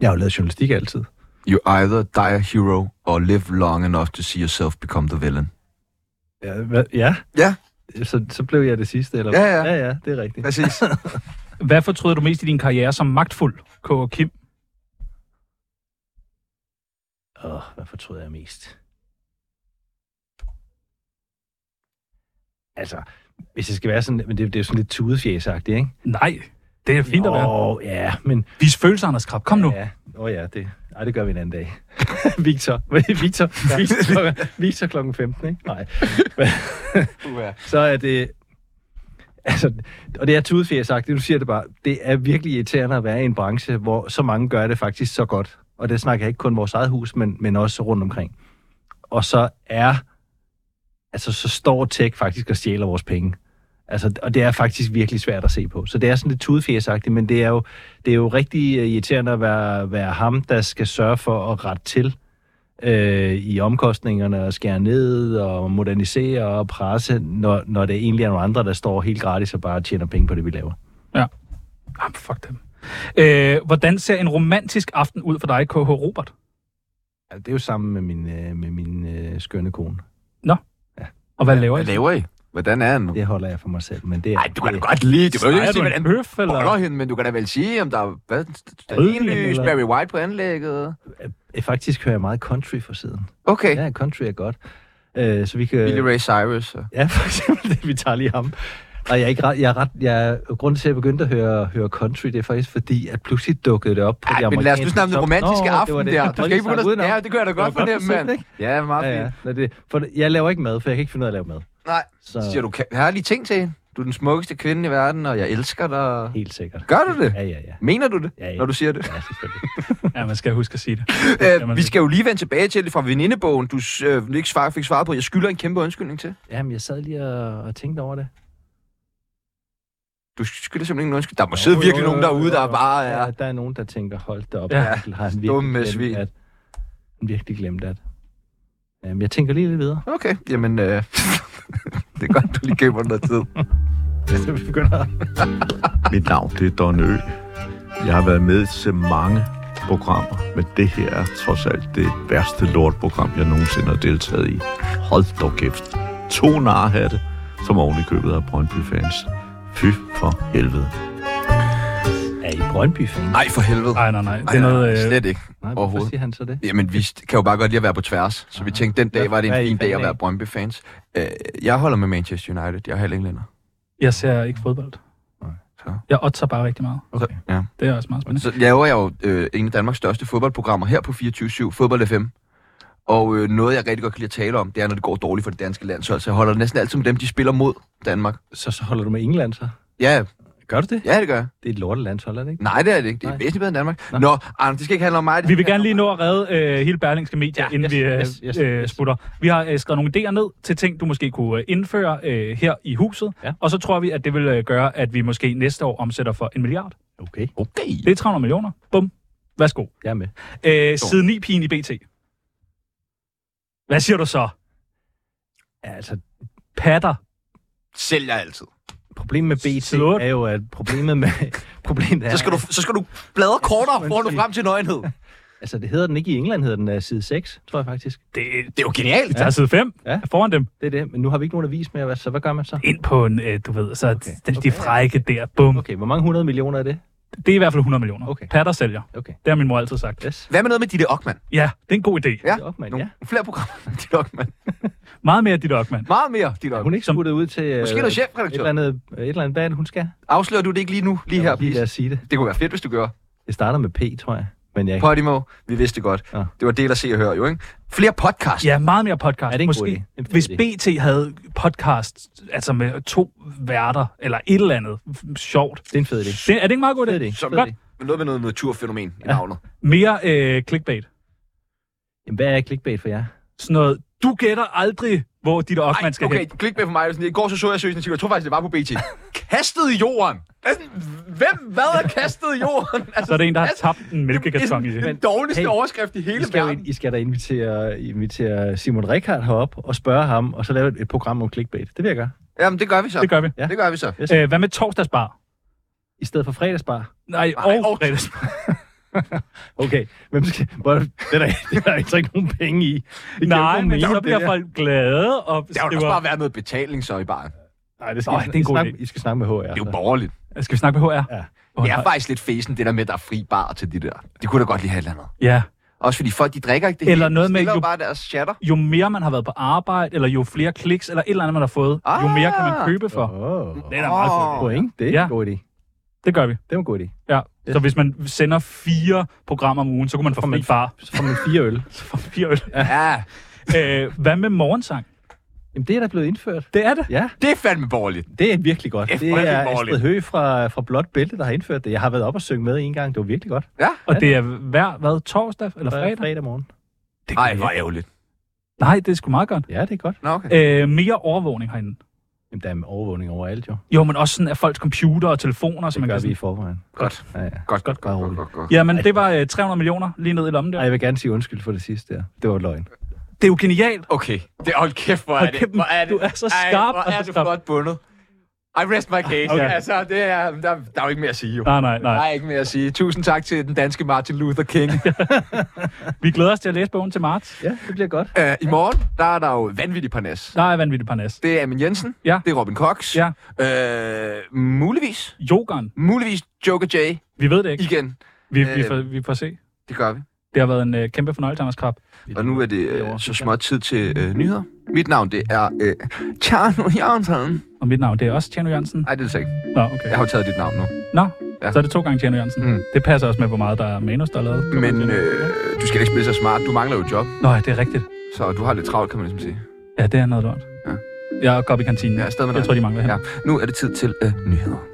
Speaker 4: Jeg har jo lavet journalistik altid.
Speaker 1: You either die a hero or live long enough to see yourself become the villain.
Speaker 4: Ja. Hvad, ja.
Speaker 1: Ja.
Speaker 4: Så, så blev jeg det sidste, eller
Speaker 1: Ja, ja.
Speaker 4: ja, ja det er rigtigt.
Speaker 1: Præcis.
Speaker 3: Hvad fortryder du mest i din karriere som magtfuld, K. og Kim?
Speaker 4: Åh, oh, hvad fortryder jeg mest? Altså, hvis det skal være sådan, men det, det er jo sådan lidt tudefjæsagtigt, ikke?
Speaker 3: Nej, det er fint at være.
Speaker 4: Åh, ja, men...
Speaker 3: Vis følelser, Anders Krab. Kom nu.
Speaker 4: Ja, åh oh, ja, det, ej, det gør vi en anden dag. Victor, Victor, Victor, Victor klokken 15, ikke? Nej. Så er det... Altså, og det er tudefjæsagtigt, du siger det bare. Det er virkelig irriterende at være i en branche, hvor så mange gør det faktisk så godt. Og det snakker jeg ikke kun vores eget hus, men, men også rundt omkring. Og så er... Altså, så står tech faktisk og stjæler vores penge. Altså, og det er faktisk virkelig svært at se på. Så det er sådan lidt tudefjæsagtigt, men det er jo, det er jo rigtig øh, irriterende at være, være ham, der skal sørge for at rette til øh, i omkostningerne og skære ned og modernisere og presse, når, når det egentlig er nogle andre, der står helt gratis og bare tjener penge på det, vi laver.
Speaker 3: Ah, fuck dem. Øh, hvordan ser en romantisk aften ud for dig, KH Robert?
Speaker 4: Ja, Altså, Det er jo sammen med min, øh, med min øh, skønne kone.
Speaker 3: Og hvad laver I?
Speaker 1: Hvad laver I? Hvordan er han?
Speaker 4: Det holder jeg for mig selv, men det er...
Speaker 1: Nej, du kan da godt lide. Det behøver jo
Speaker 3: Ejer
Speaker 1: ikke
Speaker 3: du
Speaker 1: sige,
Speaker 3: en
Speaker 1: hvordan
Speaker 3: bøf,
Speaker 1: boller
Speaker 3: eller?
Speaker 1: hende, men du kan da vel sige, om der er hvad,
Speaker 4: Rødvin,
Speaker 1: stenlys,
Speaker 4: eller?
Speaker 1: Barry White på anlægget.
Speaker 4: Øh, Faktisk hører jeg meget country for siden.
Speaker 1: Okay,
Speaker 4: Ja, country er godt. Øh, så vi kan...
Speaker 1: Billy Ray Cyrus. og-
Speaker 4: Ja, for eksempel, det, vi tager lige ham. Og jeg er ikke ret, jeg er ret, jeg, grunden til, at jeg begyndte at høre, høre country, det er faktisk fordi, at pludselig dukkede det op på
Speaker 1: Ej,
Speaker 4: de
Speaker 1: men lad os nu snakke
Speaker 4: amerikanske
Speaker 1: om den
Speaker 4: top-
Speaker 1: romantiske
Speaker 4: Nå, det
Speaker 1: aften
Speaker 4: var det.
Speaker 1: der.
Speaker 4: Jeg
Speaker 1: Du
Speaker 4: prøvede
Speaker 1: skal
Speaker 4: lige
Speaker 1: ikke
Speaker 4: at snakke
Speaker 1: begynde at...
Speaker 4: udenom.
Speaker 1: Ja, det gør jeg da
Speaker 4: var
Speaker 1: godt fornemme,
Speaker 4: forsøgt,
Speaker 1: mand.
Speaker 4: ikke?
Speaker 1: Ja, meget
Speaker 4: Ja, ja.
Speaker 1: fint.
Speaker 4: Nå, det, for jeg laver ikke mad, for jeg kan ikke finde ud af at lave mad.
Speaker 1: Nej,
Speaker 4: Så
Speaker 1: siger du ka- herlige ting til hende. Du er den smukkeste kvinde i verden, og jeg elsker dig.
Speaker 4: helt sikkert.
Speaker 1: Gør du det?
Speaker 4: Ja, ja, ja.
Speaker 1: Mener du det,
Speaker 4: Ja, ja.
Speaker 1: når du siger det?
Speaker 4: Ja, selvfølgelig.
Speaker 3: Ja, man skal huske at sige det. skal
Speaker 1: Øh,
Speaker 3: man
Speaker 1: vi
Speaker 3: sige.
Speaker 1: skal jo lige vende tilbage til det fra venindebogen, du øh, ikke svar, fik svaret på. Jeg skylder en kæmpe undskyldning til.
Speaker 4: Jamen, jeg sad lige og, og tænkte over det.
Speaker 1: Du skylder simpelthen ingen undskyldning. Der må sidde virkelig nogen derude, der bare er...
Speaker 4: Ja, der er nogen, der tænker, hold da op,
Speaker 3: Ja,
Speaker 4: ja, har han
Speaker 1: dumme
Speaker 4: virkelig
Speaker 1: svin.
Speaker 4: glemt, at... Han virkelig glemt, at... Jamen, jeg tænker lige lidt videre.
Speaker 1: Okay, jamen... Øh, det er godt, du lige giver mig noget tid.
Speaker 4: Så vi begynder at
Speaker 9: Mit navn det er Don Ø. Jeg har været med til mange programmer, men det her er trods alt det værste lortprogram, jeg nogensinde har deltaget i. Hold dog kæft. To narhatte, som oven i købet af Brøndby fans. Fy for helvede.
Speaker 4: er I Brøndby fan?
Speaker 1: Nej, for helvede.
Speaker 3: Nej, nej, nej. Det
Speaker 1: Ej,
Speaker 3: er
Speaker 1: nej,
Speaker 3: noget... Øh,
Speaker 1: slet ikke.
Speaker 4: Nej, hvorfor
Speaker 1: Overhovedet.
Speaker 4: siger han så det?
Speaker 1: Jamen, vi st- kan jo bare godt lide at være på tværs. Så vi tænkte, den
Speaker 4: Hvad-
Speaker 1: dag var det
Speaker 4: hvad er
Speaker 1: en
Speaker 4: I
Speaker 1: fin dag
Speaker 4: fan
Speaker 1: at være
Speaker 4: af?
Speaker 1: Brøndby-fans. Øh, jeg holder med Manchester United. Jeg er halv englænder.
Speaker 3: jeg ser ikke fodbold.
Speaker 1: så.
Speaker 3: Jeg otter bare rigtig meget.
Speaker 1: Okay. Ja.
Speaker 3: Det er også meget spændende.
Speaker 1: Så laver jeg jo øh, en af Danmarks største fodboldprogrammer her på 24-7, Fodbold FM. Og øh, noget, jeg rigtig godt kan lide at tale om, det er, når det går dårligt for det danske landshold. Så jeg holder næsten altid med dem, de spiller mod Danmark.
Speaker 4: Så, så holder du med England så?
Speaker 1: Ja,
Speaker 4: Gør du det?
Speaker 1: ja det gør jeg.
Speaker 4: Det er et lortelandshold, er det ikke?
Speaker 1: Nej, det er det ikke. Det er
Speaker 4: Nej.
Speaker 1: væsentligt bedre end Danmark. Nå, Nå Anders, det skal ikke handle om mig. Det
Speaker 3: Vi
Speaker 1: skal
Speaker 3: vil gerne
Speaker 1: handle
Speaker 3: lige
Speaker 1: om
Speaker 3: nå at redde øh, hele Berlingske Media, ja,
Speaker 4: Ja,
Speaker 3: inden
Speaker 4: yes,
Speaker 3: vi øh,
Speaker 4: yes, yes,
Speaker 3: øh,
Speaker 4: yes.
Speaker 3: sputter. Vi har øh, skrevet nogle idéer ned til ting, du måske kunne øh, indføre øh, her i huset.
Speaker 4: Ja.
Speaker 3: Og så tror vi, at det vil øh, gøre, at vi måske næste år omsætter for en milliard.
Speaker 4: Okay,
Speaker 1: Okay.
Speaker 3: Det er 300 millioner. Bum. Værsgo.
Speaker 4: jeg er med.
Speaker 3: Øh, siden 9 pigen i BT. Hvad siger du så?
Speaker 4: Ja, altså,
Speaker 3: Patter.
Speaker 1: Sælger altid.
Speaker 4: problemet med BT
Speaker 3: Slut.
Speaker 4: er jo, at problemet med... problemet er,
Speaker 1: Så skal du, så skal du bladre kortere, for du
Speaker 4: undskyld.
Speaker 1: frem til nøgenhed.
Speaker 4: Altså, det hedder den ikke i England, hedder den øh, side 6, tror jeg faktisk.
Speaker 3: Det,
Speaker 1: Det er jo genialt.
Speaker 3: Der er side 5 ja.
Speaker 4: Ja.
Speaker 3: foran dem.
Speaker 4: Det er det, men nu har vi ikke nogen avis med, så hvad gør man så?
Speaker 3: Ind på en, øh, du ved, så okay. de, de
Speaker 4: Okay.
Speaker 3: frække der. Bum. Okay.
Speaker 4: Okay, hvor mange hundrede millioner er det?
Speaker 3: Det er i hvert fald 100 millioner. Okay.
Speaker 4: Okay.
Speaker 3: Patter sælger.
Speaker 4: Okay,
Speaker 3: Det har min mor altid sagt.
Speaker 4: yes.
Speaker 1: Hvad med noget med Ditte Ockmann?
Speaker 3: Ja, det er en god idé.
Speaker 1: Ja,
Speaker 4: Op, man.
Speaker 1: Nogle
Speaker 4: ja.
Speaker 1: flere programmer med Ditte Ockmann.
Speaker 3: Meget mere dit Ockmann.
Speaker 1: Meget mere Ditte
Speaker 4: Hun
Speaker 1: Ockmann.
Speaker 4: er ikke smuttet ud til... øh,
Speaker 1: Måske noget
Speaker 4: et
Speaker 1: chefredaktør.
Speaker 4: eller, andet, øh, et eller andet, hvad er det, hun skal?
Speaker 1: Afslører du det ikke lige nu, lige her,
Speaker 4: Jeg må Lige lad
Speaker 1: please?
Speaker 4: os sige det.
Speaker 1: Det kunne være fedt, hvis du gør.
Speaker 4: Det starter med P, tror jeg. Men jeg
Speaker 1: Podimo, vi vidste det godt.
Speaker 4: Ja.
Speaker 1: Det var del af se og høre jo, ikke? Flere podcast.
Speaker 3: Ja, meget mere podcast.
Speaker 4: Er det en god idé?
Speaker 3: Måske,
Speaker 4: En fed
Speaker 3: hvis
Speaker 4: idé.
Speaker 3: BT havde podcast, altså med to værter, eller et eller andet f- sjovt.
Speaker 4: Det er en fed idé.
Speaker 3: Det, er det ikke en meget god idé?
Speaker 4: Fed idé.
Speaker 1: Som
Speaker 4: Fed idé.
Speaker 1: Noget med noget naturfænomen i navnet.
Speaker 3: Mere øh, clickbait.
Speaker 4: Jamen, hvad er clickbait for jer?
Speaker 3: Sådan noget, du gætter aldrig, hvor dit Ockmann skal
Speaker 1: okay,
Speaker 3: hen.
Speaker 1: klik med for mig. Det er sådan, I går så så jeg seriøst en artikel, jeg tror faktisk, det var på BT. Kastet i jorden! Altså, hvem, hvad er kastet i jorden? Altså,
Speaker 3: Så er det en, der har
Speaker 1: kastet-
Speaker 3: tabt en mælkekarton i
Speaker 1: det. er sådan
Speaker 3: det.
Speaker 1: Den dårligste
Speaker 4: Hey,
Speaker 1: overskrift i
Speaker 4: I
Speaker 1: hele
Speaker 4: skal, jo ind,
Speaker 1: verden.
Speaker 4: I skal da invitere, invitere Simon Rikard herop og spørge ham, og så lave et, et program om clickbait. Det vil jeg gøre.
Speaker 1: Jamen, det gør vi så.
Speaker 3: Det gør vi.
Speaker 1: Det gør vi så.
Speaker 3: Øh, hvad med torsdagsbar?
Speaker 4: I stedet for fredagsbar.
Speaker 3: Nej,
Speaker 1: Ej,
Speaker 3: og
Speaker 1: og-
Speaker 3: fredagsbar.
Speaker 4: Okay, hvem skal... Hvor, det, er der, det er der altså ikke nogen penge i. Det giver
Speaker 3: Nej,
Speaker 4: ikke nogen
Speaker 3: men
Speaker 4: mening,
Speaker 3: så
Speaker 4: det
Speaker 3: bliver
Speaker 4: der.
Speaker 3: folk glade og
Speaker 1: Der har jo også
Speaker 3: skriver...
Speaker 1: bare været noget betaling så i baren. Det
Speaker 4: Nej, det skal,
Speaker 3: Nå,
Speaker 4: Nå,
Speaker 3: det er
Speaker 4: det
Speaker 3: en god
Speaker 4: snakke,
Speaker 3: idé.
Speaker 4: I skal snakke med HR.
Speaker 1: er jo
Speaker 4: så.
Speaker 1: borgerligt.
Speaker 3: Skal vi snakke med HR?
Speaker 4: Ja.
Speaker 3: Oh,
Speaker 1: Det er faktisk lidt fesen, det der med, at der er fri bar til de der. Det kunne da godt lige have et eller andet.
Speaker 3: ja.
Speaker 1: Også fordi folk, de drikker ikke det
Speaker 3: Eller
Speaker 1: hele.
Speaker 3: noget
Speaker 1: de
Speaker 3: med
Speaker 1: stiller jo
Speaker 3: jo-
Speaker 1: bare deres chatter.
Speaker 3: Jo mere man har været på arbejde, eller jo flere kliks, eller et eller andet, man har fået, ah. jo
Speaker 1: Ah.
Speaker 3: mere kan man købe for.
Speaker 4: Åh,
Speaker 3: Det er da meget
Speaker 1: Åh.
Speaker 3: fedt.
Speaker 4: Point, det er
Speaker 3: Ja.
Speaker 4: en god idé.
Speaker 3: Det gør vi.
Speaker 4: Det var en god idé.
Speaker 3: Ja. Så hvis man sender fire programmer om ugen, så kunne man få fri
Speaker 4: man-
Speaker 3: bar.
Speaker 4: Så får man fire øl.
Speaker 3: Så får man fire øl.
Speaker 1: Ja,
Speaker 3: Øh, hvad med morgensang?
Speaker 4: Jamen, det er da blevet indført.
Speaker 3: Det er det.
Speaker 4: Ja,
Speaker 1: det er fandme borgerligt.
Speaker 4: det er virkelig godt.
Speaker 1: Det er
Speaker 4: Det
Speaker 1: frygtelig
Speaker 4: er
Speaker 1: borgerligt.
Speaker 4: Astrid Høgh fra, fra Blåt Bælte, der har indført det. Jeg har været op og synge med en gang. Det var virkelig godt.
Speaker 3: Og det er hver, hvad, torsdag eller
Speaker 4: Fredag,
Speaker 3: fredag?
Speaker 4: fredag morgen.
Speaker 1: Nej, hvor ærgerligt.
Speaker 3: Nej, det er sgu meget godt.
Speaker 4: Ja, det er godt.
Speaker 1: Nå, okay.
Speaker 3: Øh, mere overvågning herinde.
Speaker 4: Jamen, der er overvågning overalt jo.
Speaker 3: Jo, men også sådan af folks computer og telefoner,
Speaker 4: Så
Speaker 3: som
Speaker 4: det
Speaker 3: man
Speaker 4: gør
Speaker 3: kan
Speaker 4: vi i
Speaker 3: sådan...
Speaker 4: forvejen.
Speaker 1: Godt.
Speaker 4: Ja, ja.
Speaker 1: Godt, godt,
Speaker 4: Bare roligt.
Speaker 1: godt, godt.
Speaker 3: Jamen, det var øh, 300 millioner lige ned i lommen der.
Speaker 4: Ej, jeg vil gerne sige undskyld for det sidste der. Det var løgn.
Speaker 3: Det er jo genialt.
Speaker 1: Okay, det, hold kæft, hvor er
Speaker 3: Hold
Speaker 1: det.
Speaker 3: kæft,
Speaker 1: Hvor er det.
Speaker 3: du er så
Speaker 1: Ej,
Speaker 3: skarp,
Speaker 1: hvor er
Speaker 3: og så
Speaker 1: det
Speaker 3: skarp.
Speaker 1: flot bundet. I rest my case.
Speaker 3: Okay.
Speaker 1: Okay. Altså, det er, der, der er jo ikke mere at sige, jo.
Speaker 3: Nej, nej, nej.
Speaker 1: Der er ikke mere at sige. Tusind tak til den danske Martin Luther King.
Speaker 3: Vi glæder os til at læse bogen til marts.
Speaker 4: Ja, det bliver godt.
Speaker 1: Æ, Øh, I morgen, der er der jo vanvittig parnas.
Speaker 3: Der er vanvittigt parnas.
Speaker 1: Det er Amin Jensen.
Speaker 3: Ja.
Speaker 1: Det er Robin Cox.
Speaker 3: Ja.
Speaker 1: Øh, muligvis.
Speaker 3: Jokeren.
Speaker 1: Muligvis Joker J
Speaker 3: Vi ved det ikke.
Speaker 1: igen.
Speaker 3: Vi, vi,
Speaker 1: Øh.
Speaker 3: får, vi får se.
Speaker 1: Det gør vi.
Speaker 3: Det har været en øh, kæmpe fornøjelse, Anders Krab.
Speaker 1: Og nu er det øh, så småt tid til øh, nyheder. Mit navn, det er øh, Tjerno Jørgensen.
Speaker 3: Og mit navn, det er også Tjerno Jørgensen.
Speaker 1: Nej, det er det så ikke.
Speaker 3: Nå, okay.
Speaker 1: Jeg har jo taget dit navn nu.
Speaker 3: Nå,
Speaker 1: Ja.
Speaker 3: så er det to gange Tjerno Jørgensen.
Speaker 1: Mm.
Speaker 3: Det passer også med, hvor meget der er manus, der er lavet. To gange
Speaker 1: Men
Speaker 3: Tjerno Jørgensen.
Speaker 1: øh, du skal ikke spille så smart. Du mangler jo et job,
Speaker 3: Nå, ja, det er rigtigt.
Speaker 1: så du har lidt travlt, kan man ligesom sige.
Speaker 3: Ja, det er noget lort.
Speaker 1: Ja.
Speaker 3: Jeg går op i kantinen.
Speaker 1: Jeg er afsted med
Speaker 3: jeg
Speaker 1: dig.
Speaker 3: tror, de mangler her.
Speaker 1: Ja. Nu er det tid til øh, nyheder.